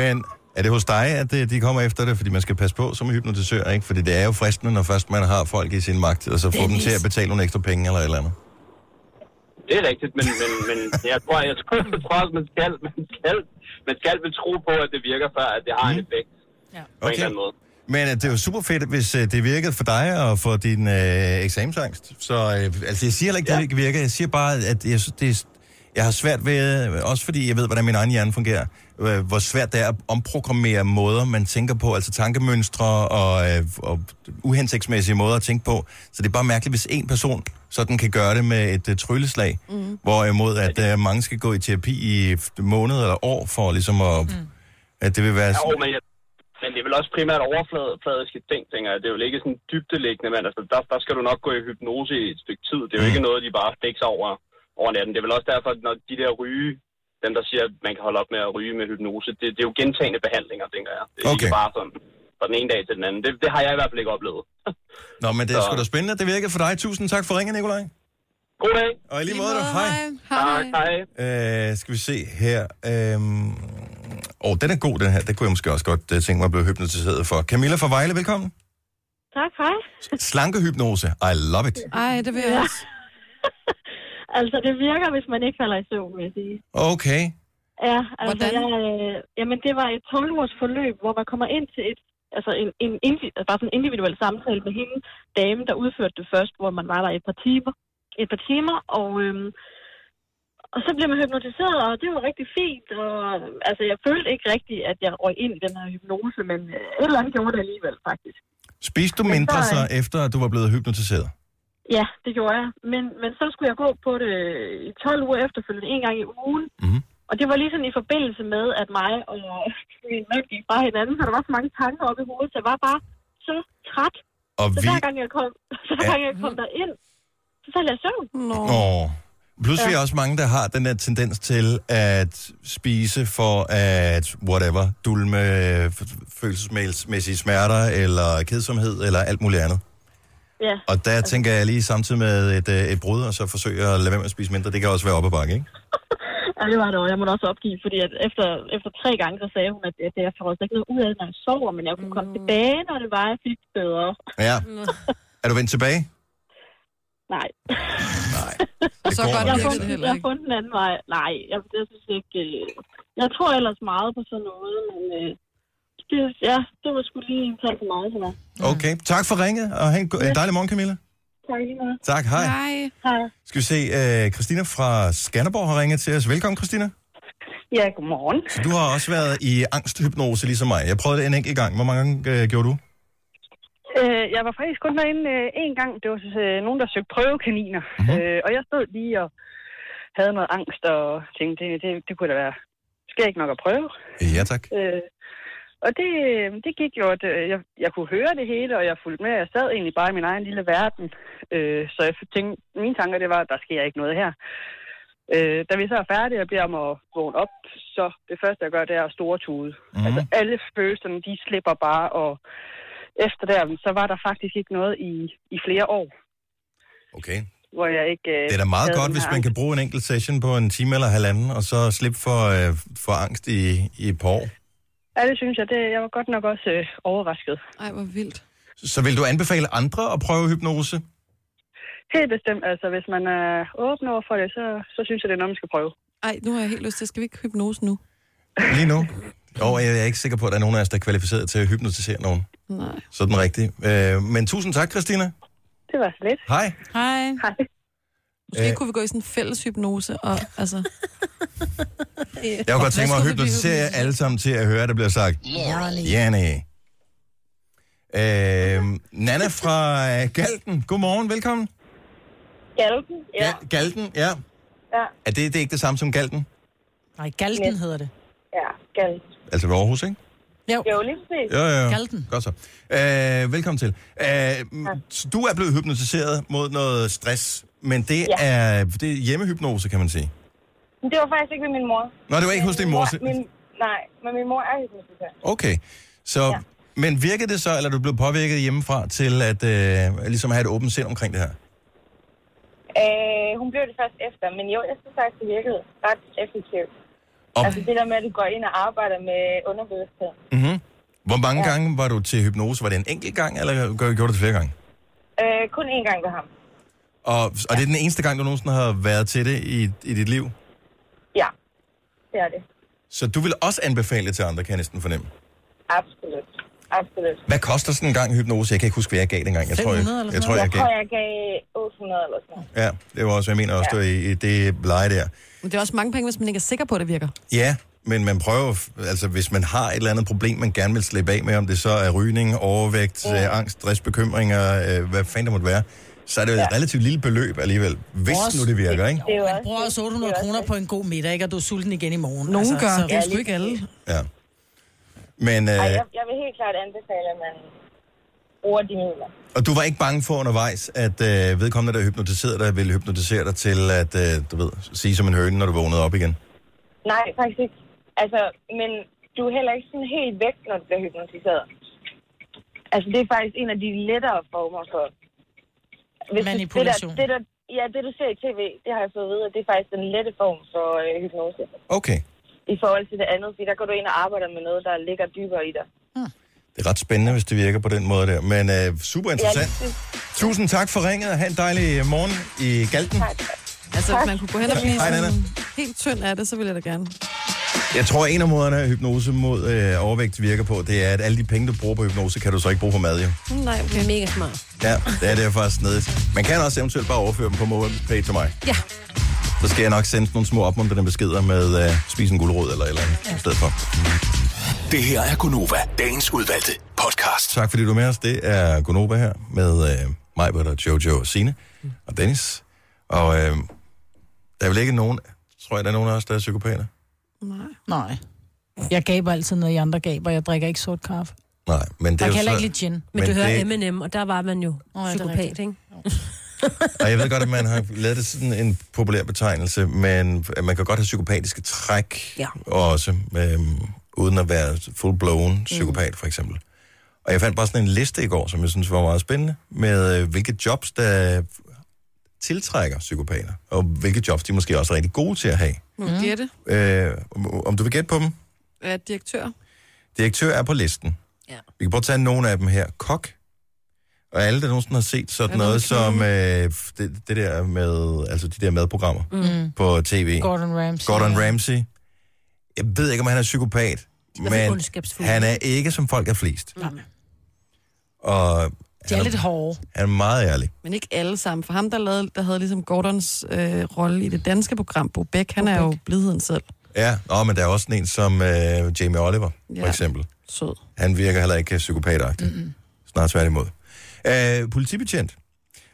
B: Men er det hos dig, at øh, de kommer efter det, fordi man skal passe på som hypnotisør, ikke? Fordi det er jo fristende, når først man har folk i sin magt, og så får dem
K: Dennis.
B: til at betale nogle ekstra penge eller et eller andet.
K: Det er rigtigt, men, men, men jeg tror, jeg tror, jeg tror også, man skal, man skal, man skal vel tro på, at det virker, før at det har en effekt. Mm. Ja. På okay. en eller anden måde.
B: Men øh, det er jo super fedt, hvis øh, det virkede for dig og for din øh, eksamensangst. Så øh, altså, jeg siger heller ikke, ja. det ikke virker. Jeg siger bare, at jeg, synes, det er, jeg har svært ved, øh, også fordi jeg ved, hvordan min egen hjerne fungerer, øh, hvor svært det er at omprogrammere måder, man tænker på, altså tankemønstre og, øh, og uhensigtsmæssige måder at tænke på. Så det er bare mærkeligt, hvis en person sådan kan gøre det med et øh, trylleslag, mm. hvorimod at øh, mange skal gå i terapi i måneder eller år for ligesom at... Mm. At det vil være...
K: Jo, men, jeg, men det er vel også primært overfladiske ting, tænker jeg. Det er vel ikke sådan dybdeliggende, men altså, der, der skal du nok gå i hypnose i et stykke tid. Det er jo ikke noget, de bare fikser over, over natten. Det er vel også derfor, at når de der ryge, dem der siger, at man kan holde op med at ryge med hypnose, det, det er jo gentagende behandlinger, tænker jeg. Det er okay. ikke bare sådan fra den ene dag til den anden. Det, det har jeg i hvert fald ikke oplevet.
B: Nå, men det er sgu da spændende, at det virkede for dig. Tusind tak for ringen, Nikolaj.
K: God dag.
B: Og i lige måde, hej.
K: Hej. Hej.
B: Øh, skal vi se her. Øhm... Åh, den er god, den her. Det kunne jeg måske også godt øh, tænke mig at blive hypnotiseret for. Camilla fra Vejle, velkommen.
L: Tak, hej.
B: Slankehypnose. I love it.
D: Ej, det vil jeg også.
L: altså, det virker, hvis man ikke falder i søvn, vil jeg sige.
B: Okay.
L: Ja, altså, jeg, øh, jamen, det var et 12 ugers forløb, hvor man kommer ind til et, altså en, en, indi- altså, bare sådan en individuel samtale med hende, damen, der udførte det først, hvor man var der et par timer, et par timer og, øhm, og så blev man hypnotiseret, og det var rigtig fint, og øhm, altså, jeg følte ikke rigtigt, at jeg røg ind i den her hypnose, men øh, et eller andet gjorde det alligevel, faktisk.
B: Spiste du
L: Men
B: mindre
L: så,
B: så,
L: øh,
B: efter at du var blevet hypnotiseret?
L: Ja, det gjorde jeg. Men, men så skulle jeg gå på det øh, i 12 uger efterfølgende, en gang i ugen.
B: Mm-hmm.
L: Og det var ligesom i forbindelse med, at mig og min mand gik fra hinanden, så der var så mange tanker op i hovedet, så jeg var bare så træt.
B: Og
L: så
B: vi-
L: hver gang jeg kom, så hver
B: Ja.
L: gang jeg kom derind, så faldt jeg i søvn.
D: Nå.
B: Åh. Plus vi
L: Ja.
B: er også mange, der har den der tendens til at spise for at, whatever, dulme øh, følelsesmæssige smerter, eller kedsomhed, eller alt muligt andet.
L: Ja.
B: Og der tænker jeg lige samtidig med et, øh, et brud, og så forsøge at lade være med at spise mindre. Det kan også være op ad bakke, ikke?
L: ja, det var det, og jeg måtte også opgive, fordi at efter, efter tre gange, så sagde hun, at, at jeg får altså ikke noget ud af, det, når jeg sover, men jeg kunne komme tilbage, når det var, jeg fik det bedre.
B: Ja. Er du vendt tilbage?
L: Nej.
B: Og så
L: jeg, har fundet, jeg har fundet en anden vej. Nej, jeg, jeg synes ikke... Øh, jeg tror ellers meget på sådan noget, men... Øh, det, ja, det var sgu lige en tand for meget for mig.
B: Okay, tak for ringet, og have en go- en dejlig morgen, Camilla.
L: Tak lige meget.
B: Tak, hej.
L: Hej. Hej.
B: Skal vi se, uh, Christina fra Skanderborg har ringet til os. Velkommen, Christina.
P: Ja, godmorgen.
B: Så du har også været i angsthypnose, ligesom mig. Jeg prøvede det en enkelt gang. Hvor mange gange uh, gjorde du?
P: Øh, jeg var faktisk kun derinde øh, en gang. Det var øh, nogen, der søgte prøvekaniner.
B: Mhm.
P: Mm-hmm. Øh, og jeg stod lige og havde noget angst og tænkte, det, det, det kunne da være skægt nok at prøve.
B: Ja, tak.
P: Øh, Og det, øh, det gik jo, at øh, jeg, jeg kunne høre det hele, og jeg fulgte med. Jeg sad egentlig bare i min egen lille verden. Øh, så jeg tænkte, mine tanker det var, at der sker ikke noget her. Øh, da vi så er færdige og beder om at vågne op, så det første, jeg gør, det er at store tude.
B: Mhm.
P: Mm. Altså alle følelserne, de slipper bare, og efter der, så var der faktisk ikke noget i, i flere år,
B: Okay.
P: hvor jeg ikke... Øh,
B: Det er da meget
P: havde
B: godt,
P: den
B: hvis
P: her
B: man kan bruge en enkelt session på en time eller halvanden, og så slippe for, øh, for angst i, i et par år.
P: Ja, det synes jeg. Det, jeg var godt nok også øh, overrasket. Ej, hvor vildt.
B: Så vil du anbefale andre at prøve hypnose?
P: Helt bestemt. Altså, hvis man er åben over for det, så, så synes jeg, det er noget, man skal prøve.
D: Ej, nu har jeg helt lyst til, skal vi ikke hypnose nu?
B: Lige nu? Jo, jeg er ikke sikker på, at der er nogen af os, der er kvalificeret til at hypnotisere nogen.
D: Nej.
B: Sådan rigtigt. Øh, men tusind tak, Christina.
P: Det var så lidt.
B: Hej.
D: Hej.
P: Hej.
D: Måske
B: Øh.
D: øh. kunne vi gå i sådan en fælles hypnose, og altså...
B: Jeg kunne godt tænke mig at
D: Hvad skulle det
B: hypnotisere jer alle sammen til at høre, at der bliver sagt.
D: Janni.
B: Janne. Øh, Nana fra øh, Galten. Godmorgen, velkommen.
Q: Galten, ja.
B: Ga- Galten, ja.
Q: ja.
B: Er det, det er ikke det samme som Galten?
E: Nej, Galten hedder det.
Q: Ja, Galten.
B: Altså ved Aarhus, ikke?
E: Jo,
Q: jo lige præcis.
B: Jo, jo, jo. Godt så. Øh, velkommen til. Øh, m- så Du er blevet hypnotiseret mod noget stress, men det
Q: Ja.
B: er, det er hjemmehypnose, kan man sige.
Q: Men det var faktisk ikke med min mor.
B: Nå, det var ikke hos din mor. se-
Q: Min, nej, men min mor er hypnotisør.
B: Okay. Så, ja. Men virkede det så, eller er du blev påvirket hjemmefra til at øh, ligesom have et åbent sind omkring det her?
Q: Øh, hun blev det først efter, men jo, jeg synes faktisk, det virkede ret effektivt.
B: Og-
Q: Altså det der med, at du går ind og arbejder med underbevidsthed.
B: Mm-hmm. Hvor mange ja. gange var du til hypnose? Var det en enkelt gang, eller gør- gjorde du det flere gange?
Q: Øh, kun én gang ved ham.
B: Og, og det er den eneste gang, du nogensinde har været til det i, i dit liv?
Q: Ja, det er det.
B: Så du vil også anbefale det til andre, kan jeg næsten fornemme.
Q: Absolut. Absolut.
B: Hvad koster sådan en gang hypnose? Jeg kan ikke huske, hvad jeg gav dengang. Jeg tror, jeg, jeg, jeg, tror, jeg
Q: jeg,
B: gav.
Q: tror, jeg gav 800 eller sådan noget.
B: Ja, det var også, jeg mener også,
Q: Ja.
B: ja. i, i det leje der.
D: Men det er også mange penge, hvis man ikke er sikker på, at det virker.
B: Ja, men man prøver, f- altså hvis man har et eller andet problem, man gerne vil slippe af med, om det så er rygning, overvægt,
Q: Ja.
B: ja. øh, angst, stress, bekymringer, øh, hvad fanden det måtte være, så er det jo et relativt lille beløb alligevel, hvis
E: Vores-
B: nu det virker, ikke?
E: Jo, man bruger også 800 kroner på en god middag, ikke? Og du er sulten igen i morgen. Altså,
D: Nogen gør. Det er
Q: sgu ikke
E: alle.
B: Ja. Men,
Q: Ej,
B: øh,
Q: jeg, jeg vil helt klart anbefale, at man bruger de midler.
B: og du var ikke bange for undervejs, at øh, vedkommende, der hypnotiserede dig, ville hypnotisere dig til at, øh, du ved, sige som en høne, når du vågnede op igen?
Q: Nej, faktisk ikke. Altså, men du er heller ikke sådan helt væk, når du bliver hypnotiseret. Altså, det er faktisk en af de lettere former for... du-
E: Manipulation.
Q: Det der, det der, ja, det du ser i tv, det har jeg fået at vide, at det er faktisk den lette form for øh, hypnose.
B: Okay.
Q: I forhold til det andet, fordi der går du ind og arbejder med noget, der ligger dybere i dig.
B: Det er ret spændende, hvis det virker på den måde der, men øh, super interessant.
Q: lige
B: Tusind tak for ringet, og have en dejlig øh, morgen i Galten.
D: Altså, hvis man kunne gå hen og
B: Ja.
D: blive
B: Hej,
D: sådan
B: Nana.
D: helt tynd af det, så ville jeg da gerne.
B: Jeg tror, en af måderne, at hypnose mod øh, overvægt virker på, det er, at alle de penge, du bruger på hypnose, kan du så ikke bruge på mad, jo.
D: Hmm,
C: Nej, okay. Mega smart.
B: Ja, det er det faktisk nedigt. Man kan også eventuelt bare overføre dem på MobilePay til mig.
C: Ja.
B: Så skal jeg nok sende sådan nogle små opmuntrende beskeder med øh, spis en gulerod eller et eller andet i stedet for.
F: Det her er Gunova, dagens udvalgte podcast.
B: Tak fordi du er med os. Det er Gunova her med øh, mig, og Jojo og Sine og Dennis. Og øh, der er vel ikke nogen, tror jeg, der er nogen af os, der er psykopater?
E: Nej. Jeg gaber altid noget, I andre gaber. Jeg drikker ikke sort kaffe.
B: Nej, men det
E: Man
B: er
E: kan
B: jo
E: heller
B: så...
E: ikke lide gin. Men
C: Men, men du
B: det-
C: hører det... M&M, og der var man jo
E: Åh, ja,
C: oh,
E: det er rigtigt.
C: psykopat, ikke?
B: Og jeg ved godt, at man har lavet det sådan en populær betegnelse, men at man kan godt have psykopatiske træk
C: Ja.
B: også, øhm, uden at være
E: Mm.
B: full-blown psykopat, for eksempel. Og jeg fandt bare sådan en liste i går, som jeg synes var meget spændende, med øh, hvilke jobs, der tiltrækker psykopater, og hvilke jobs de måske også er rigtig gode til at have.
D: Må mm. gætte?
B: Øh, om- om du vil gætte på dem?
D: Er jeg direktør?
B: Direktør er på listen.
C: Ja.
B: Vi kan prøve at tage nogle af dem her. Kok. Og alle, der nogensinde har set sådan
E: Er der
B: noget som
E: noget
B: øh, det, det der med, altså de der madprogrammer
E: Mm.
B: på tv.
E: Gordon Ramsay.
B: Gordon Ramsay. Jeg ved ikke, om han er psykopat,
E: hvert fald
B: men
E: ondskabsfulde.
B: han er ikke som folk er flest.
E: Nej.
B: Og
D: De er lidt hårde.
B: han er meget ærlig.
D: Men ikke alle sammen. For ham, der, lavede, der havde ligesom Gordons øh, rolle i det danske program, Bo Bæk, han er jo blidheden selv.
B: Ja, Nå, men der er også sådan en som øh, Jamie Oliver, ja. for
D: Ja.
B: eksempel.
D: Sød.
B: Han virker heller ikke psykopatagtig. Mm-hmm. Snart tværtimod. Øh, politibetjent.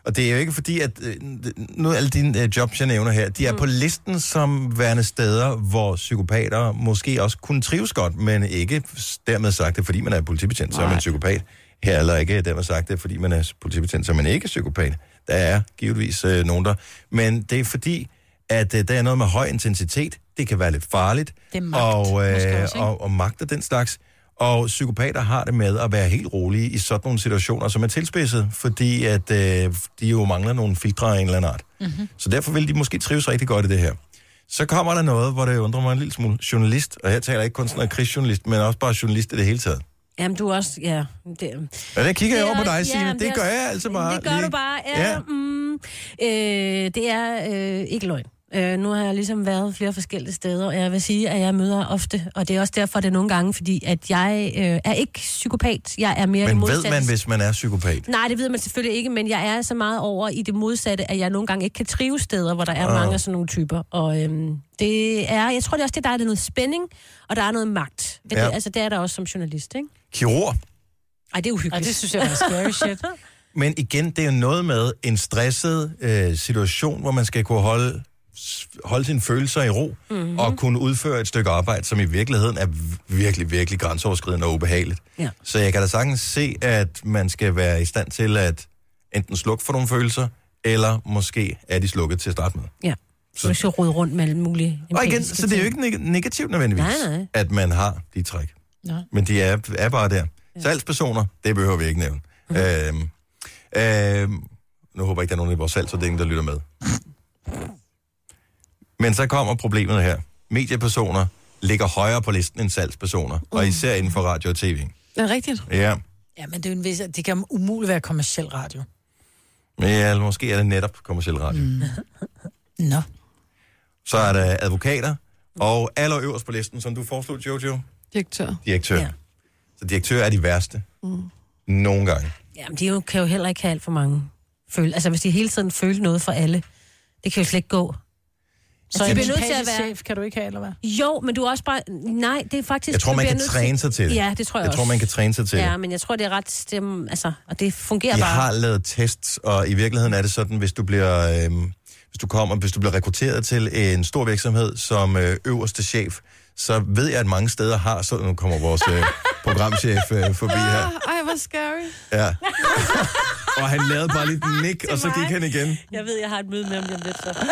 B: Og det er jo ikke fordi, at øh, nu alle dine øh, jobs, jeg nævner her, de er mm. på listen som værende steder, hvor psykopater måske også kunne trives godt, men ikke s- dermed sagt det, fordi man er politibetjent, så er man psykopat. Her eller ikke dermed sagt det, fordi man er politibetjent, så er man ikke psykopat. Der er givetvis øh, nogen der. Men det er fordi, at øh, der er noget med høj intensitet. Det kan være lidt farligt.
E: Det er magt,
B: og,
E: måske
B: øh,
E: også, ikke?
B: og, og magt og den slags. Og psykopater har det med at være helt rolige i sådan nogle situationer, som er tilspidset, fordi at, øh, de jo mangler nogle filtre af en eller anden art.
C: Mhm.
B: Mm-hmm. Så derfor vil de måske trives rigtig godt i det her. Så kommer der noget, hvor det undrer mig en lille smule. Journalist, og her taler jeg ikke kun sådan noget krigsjournalist, men også bare journalist i det hele taget.
C: Jamen, du er også... Ja, det,
B: Ja, der kigger jeg over på dig,
C: også-
B: Signe.
C: men
B: Det
C: er
B: gør
C: også-
B: jeg altså bare.
C: Det gør
B: lige.
C: du bare. Ja,
B: Ja.
C: ja. Mm, øh, det er øh, ikke løgn. Øh, nu har jeg ligesom været flere forskellige steder, og jeg vil sige, at jeg møder ofte, og det er også derfor, det er nogle gange, fordi at jeg øh, er ikke psykopat. Jeg er mere det
B: Men ved
C: modsatte.
B: man, hvis man er psykopat?
C: Nej, det ved man selvfølgelig ikke, men jeg er så meget over i det modsatte, at jeg nogle gange ikke kan trive steder, hvor der er
B: Ah.
C: mange af sådan nogle typer. Og øhm, det er, jeg tror det er også, det der er noget spænding, og der er noget magt. Det,
B: Ja.
C: ja. Altså, det er der også som journalist, ikke?
B: Kirurg.
C: Ej, det er uhyggeligt.
E: Ej, det synes jeg er scary shit.
B: Men igen, det er jo noget med en stresset øh, situation, hvor man skal kunne holde, s- holde sine følelser i ro, mm-hmm. og kunne udføre et stykke arbejde, som i virkeligheden er v- virkelig, virkelig grænseoverskridende og ubehageligt.
C: Ja.
B: Så jeg kan da sagtens se, at man skal være i stand til at enten slukke for nogle følelser, eller måske er de slukket til at starte med.
C: Ja. Så du skal rode rundt med alle mulige
B: Og igen,
C: empatiske
B: så det er jo
C: ting.
B: ikke neg- negativt nødvendigvis,
C: Nej, nej.
B: at man har de træk.
C: Nå.
B: Men de er, er bare der. Salgspersoner, det behøver vi ikke nævne.
C: Mhm.
B: Mm. Øhm, øhm, nu håber jeg ikke, der er nogen i vores salgsafdeling, der lytter med. Men så kommer problemet her. Mediepersoner ligger højere på listen end salgspersoner, mm.
C: Mhm.
B: og især inden for radio og tv.
D: Det er rigtigt.
B: Ja,
E: Ja, men det, er jo en vis, det kan umuligt være kommersiel radio.
B: men ja, eller måske er det netop kommersiel radio. Mm.
E: Nå.
B: Så er der advokater, og allerøverst på listen, som du foreslog, Jojo,
D: Direktør.
B: direktør. Ja.
C: Ja.
B: Så direktør er de værste.
D: Mm.
B: Nogle gange.
C: Jamen, de jo, kan jo heller ikke have alt for mange føle. Altså, hvis de hele tiden føler noget for alle, det kan jo slet ikke gå.
B: Altså,
E: Så
C: de
E: en
C: bliver nødt til at
E: empatisk
C: være-
E: chef kan du ikke have, eller hvad?
C: Jo, men du er også bare... Nej, det er faktisk...
B: Jeg tror,
C: du
B: man
C: bliver
B: kan
C: nødt
B: træne sig til det.
C: Ja, det tror jeg,
B: Jeg
C: også.
B: tror, man kan træne sig til
C: Ja,
B: det.
C: men jeg tror, det er ret... Stem, altså, og det fungerer
B: De
C: bare.
B: har lavet tests, og i virkeligheden er det sådan, hvis du bliver, øhm, hvis du kommer, hvis du bliver rekrutteret til en stor virksomhed som øh, øverste chef, så ved jeg, at mange steder har, så nu kommer vores øh, programchef øh, forbi her.
D: Ej, hvor scary.
B: Ja. og han lavede bare lidt nik, og så gik han igen.
C: Jeg ved, jeg har et møde med ham lige om lidt, så.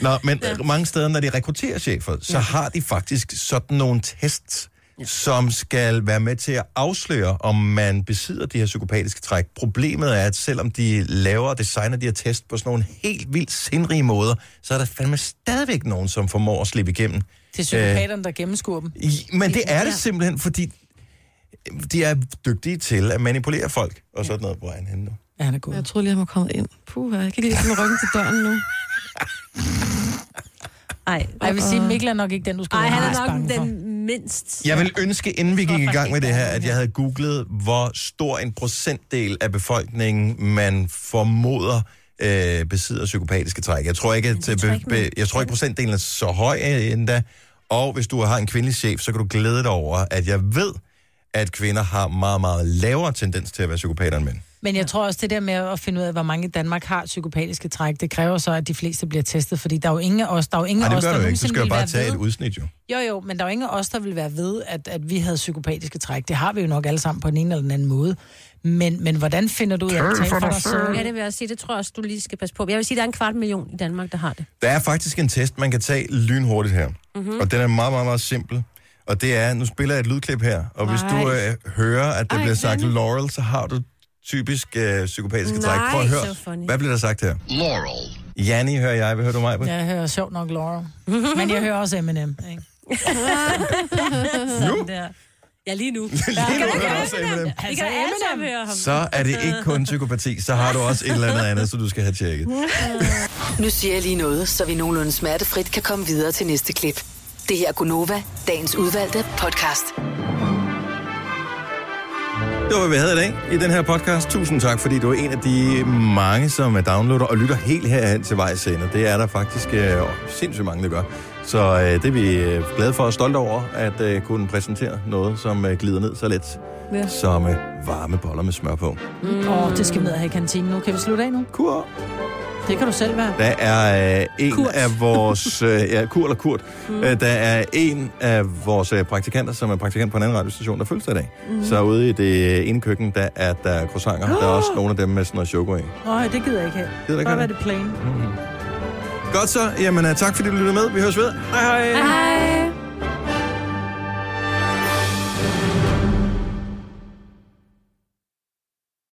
B: Nå, men ja. mange steder, når de rekrutterer chefer, så ja. har de faktisk sådan nogle tests, ja. som skal være med til at afsløre, om man besidder de her psykopatiske træk. Problemet er, at selvom de laver og designer de her test på sådan nogle helt vildt sindrige måder, så er der fandme stadigvæk nogen, som formår at slippe igennem.
E: Det er
B: Øh.
E: psykopaterne, der gennemskuer dem.
B: I- Men det er det simpelthen, fordi de er dygtige til at manipulere folk, og sådan noget. Hvor er han henne nu?
E: Ja, han er god.
D: Jeg troede lige, han var kommet ind. Puh, jeg kan lige lægge med ryggen til døren nu.
C: Ej,
E: Ej, jeg vil sige, Mikkel er nok ikke den, du skal
C: Ej,
E: være
C: han
E: mest
C: er
E: bange
C: nok
E: for.
C: den mindst.
B: Jeg vil ønske, inden vi gik i gang med det her, at jeg havde googlet, hvor stor en procentdel af befolkningen, man formoder øh, besidder psykopatiske træk. Jeg tror ikke, at be, be, jeg tror ikke procentdelen er så høj øh, endda. Og hvis du har en kvindelig chef, så kan du glæde dig over, at jeg ved, at kvinder har meget, meget lavere tendens til at være psykopater end mænd.
E: Men jeg tror også, det der med at finde ud af, hvor mange i Danmark har psykopatiske træk, det kræver så, at de fleste bliver testet, fordi der er jo ingen af os, der er jo ingen
B: Nej,
E: af
B: det
E: os,
B: gør du
E: der
B: ikke. Du
E: nogensinde
B: skal jo
E: vil
B: bare
E: være
B: tage
E: ved.
B: et udsnit, jo.
E: Jo, jo, men der er jo ingen af os, der vil være ved, at, at vi havde psykopatiske træk. Det har vi jo nok alle sammen på den ene eller den anden måde. Men, men hvordan finder du ud af at tale for dig
C: Ja,
E: selv?
C: det vil jeg sige. Det tror jeg også, du lige skal passe på. Jeg vil sige, at der er en kvart million i Danmark, der har det.
B: Der er faktisk en test, man kan tage lynhurtigt her.
C: Mhm.
B: Mm-hmm. Og den er meget, meget, meget simpel. Og det er, nu spiller jeg et lydklip her, og hvis du
C: Nej.
B: øh, hører, at der
C: Ej,
B: bliver sagt
C: Dennis.
B: Laurel, så har du typisk øh, psykopatiske
E: Nej,
B: træk. Prøv at
E: så
B: høre,
E: funny.
B: hvad bliver der sagt her?
E: Laurel.
B: Janni hører jeg, hvad hører du mig på?
E: Jeg hører sjovt nok Laura. Men jeg hører også Eminem, ikke?
C: Sådan der. Ja, lige nu. lige
B: nu hører jeg også Eminem.
C: Vi kan alle sammen høre ham.
B: Så er det ikke kun psykopati, så har du også et eller andet andet, så du skal have tjekket.
A: Nu siger jeg lige noget, så vi nogenlunde smertefrit kan komme videre til næste klip. Det her er Gunova, dagens udvalgte podcast.
B: Det var, hvad vi havde i dag i den her podcast. Tusind tak, fordi du er en af de mange, som er downloader og lytter helt herhen til vejs ende. Det er der faktisk øh, sindssygt mange, der gør. Så øh, det er vi øh, glade for og stolte over, at øh, kunne præsentere noget, som øh, glider ned så let
E: Ja.
B: ja. som øh, varme boller med smør på.
E: Åh, oh, det skal vi ned og have i kantinen nu. Kan vi slutte af nu?
B: Kur.
E: Det kan du selv være.
B: Der er øh, en
E: Kurt.
B: Kurt. af vores... Øh, ja, Kur eller Kurt.
E: Mm.
B: Mm. Øh, der er en af vores øh, praktikanter, som er praktikant på en anden radiostation, der følger sig i dag.
E: Mhm.
B: Mm. Så ude i det ene køkken, der er der croissanter. Der er også nogle af dem med sådan noget choco i.
E: Nej, det gider jeg ikke have.
B: Gider du ikke
E: Bare
B: have
E: være
B: det?
E: det plain.
B: Godt så. Jamen, øh, tak fordi du lyttede med. Vi høres ved. Hej hej.
E: Hej.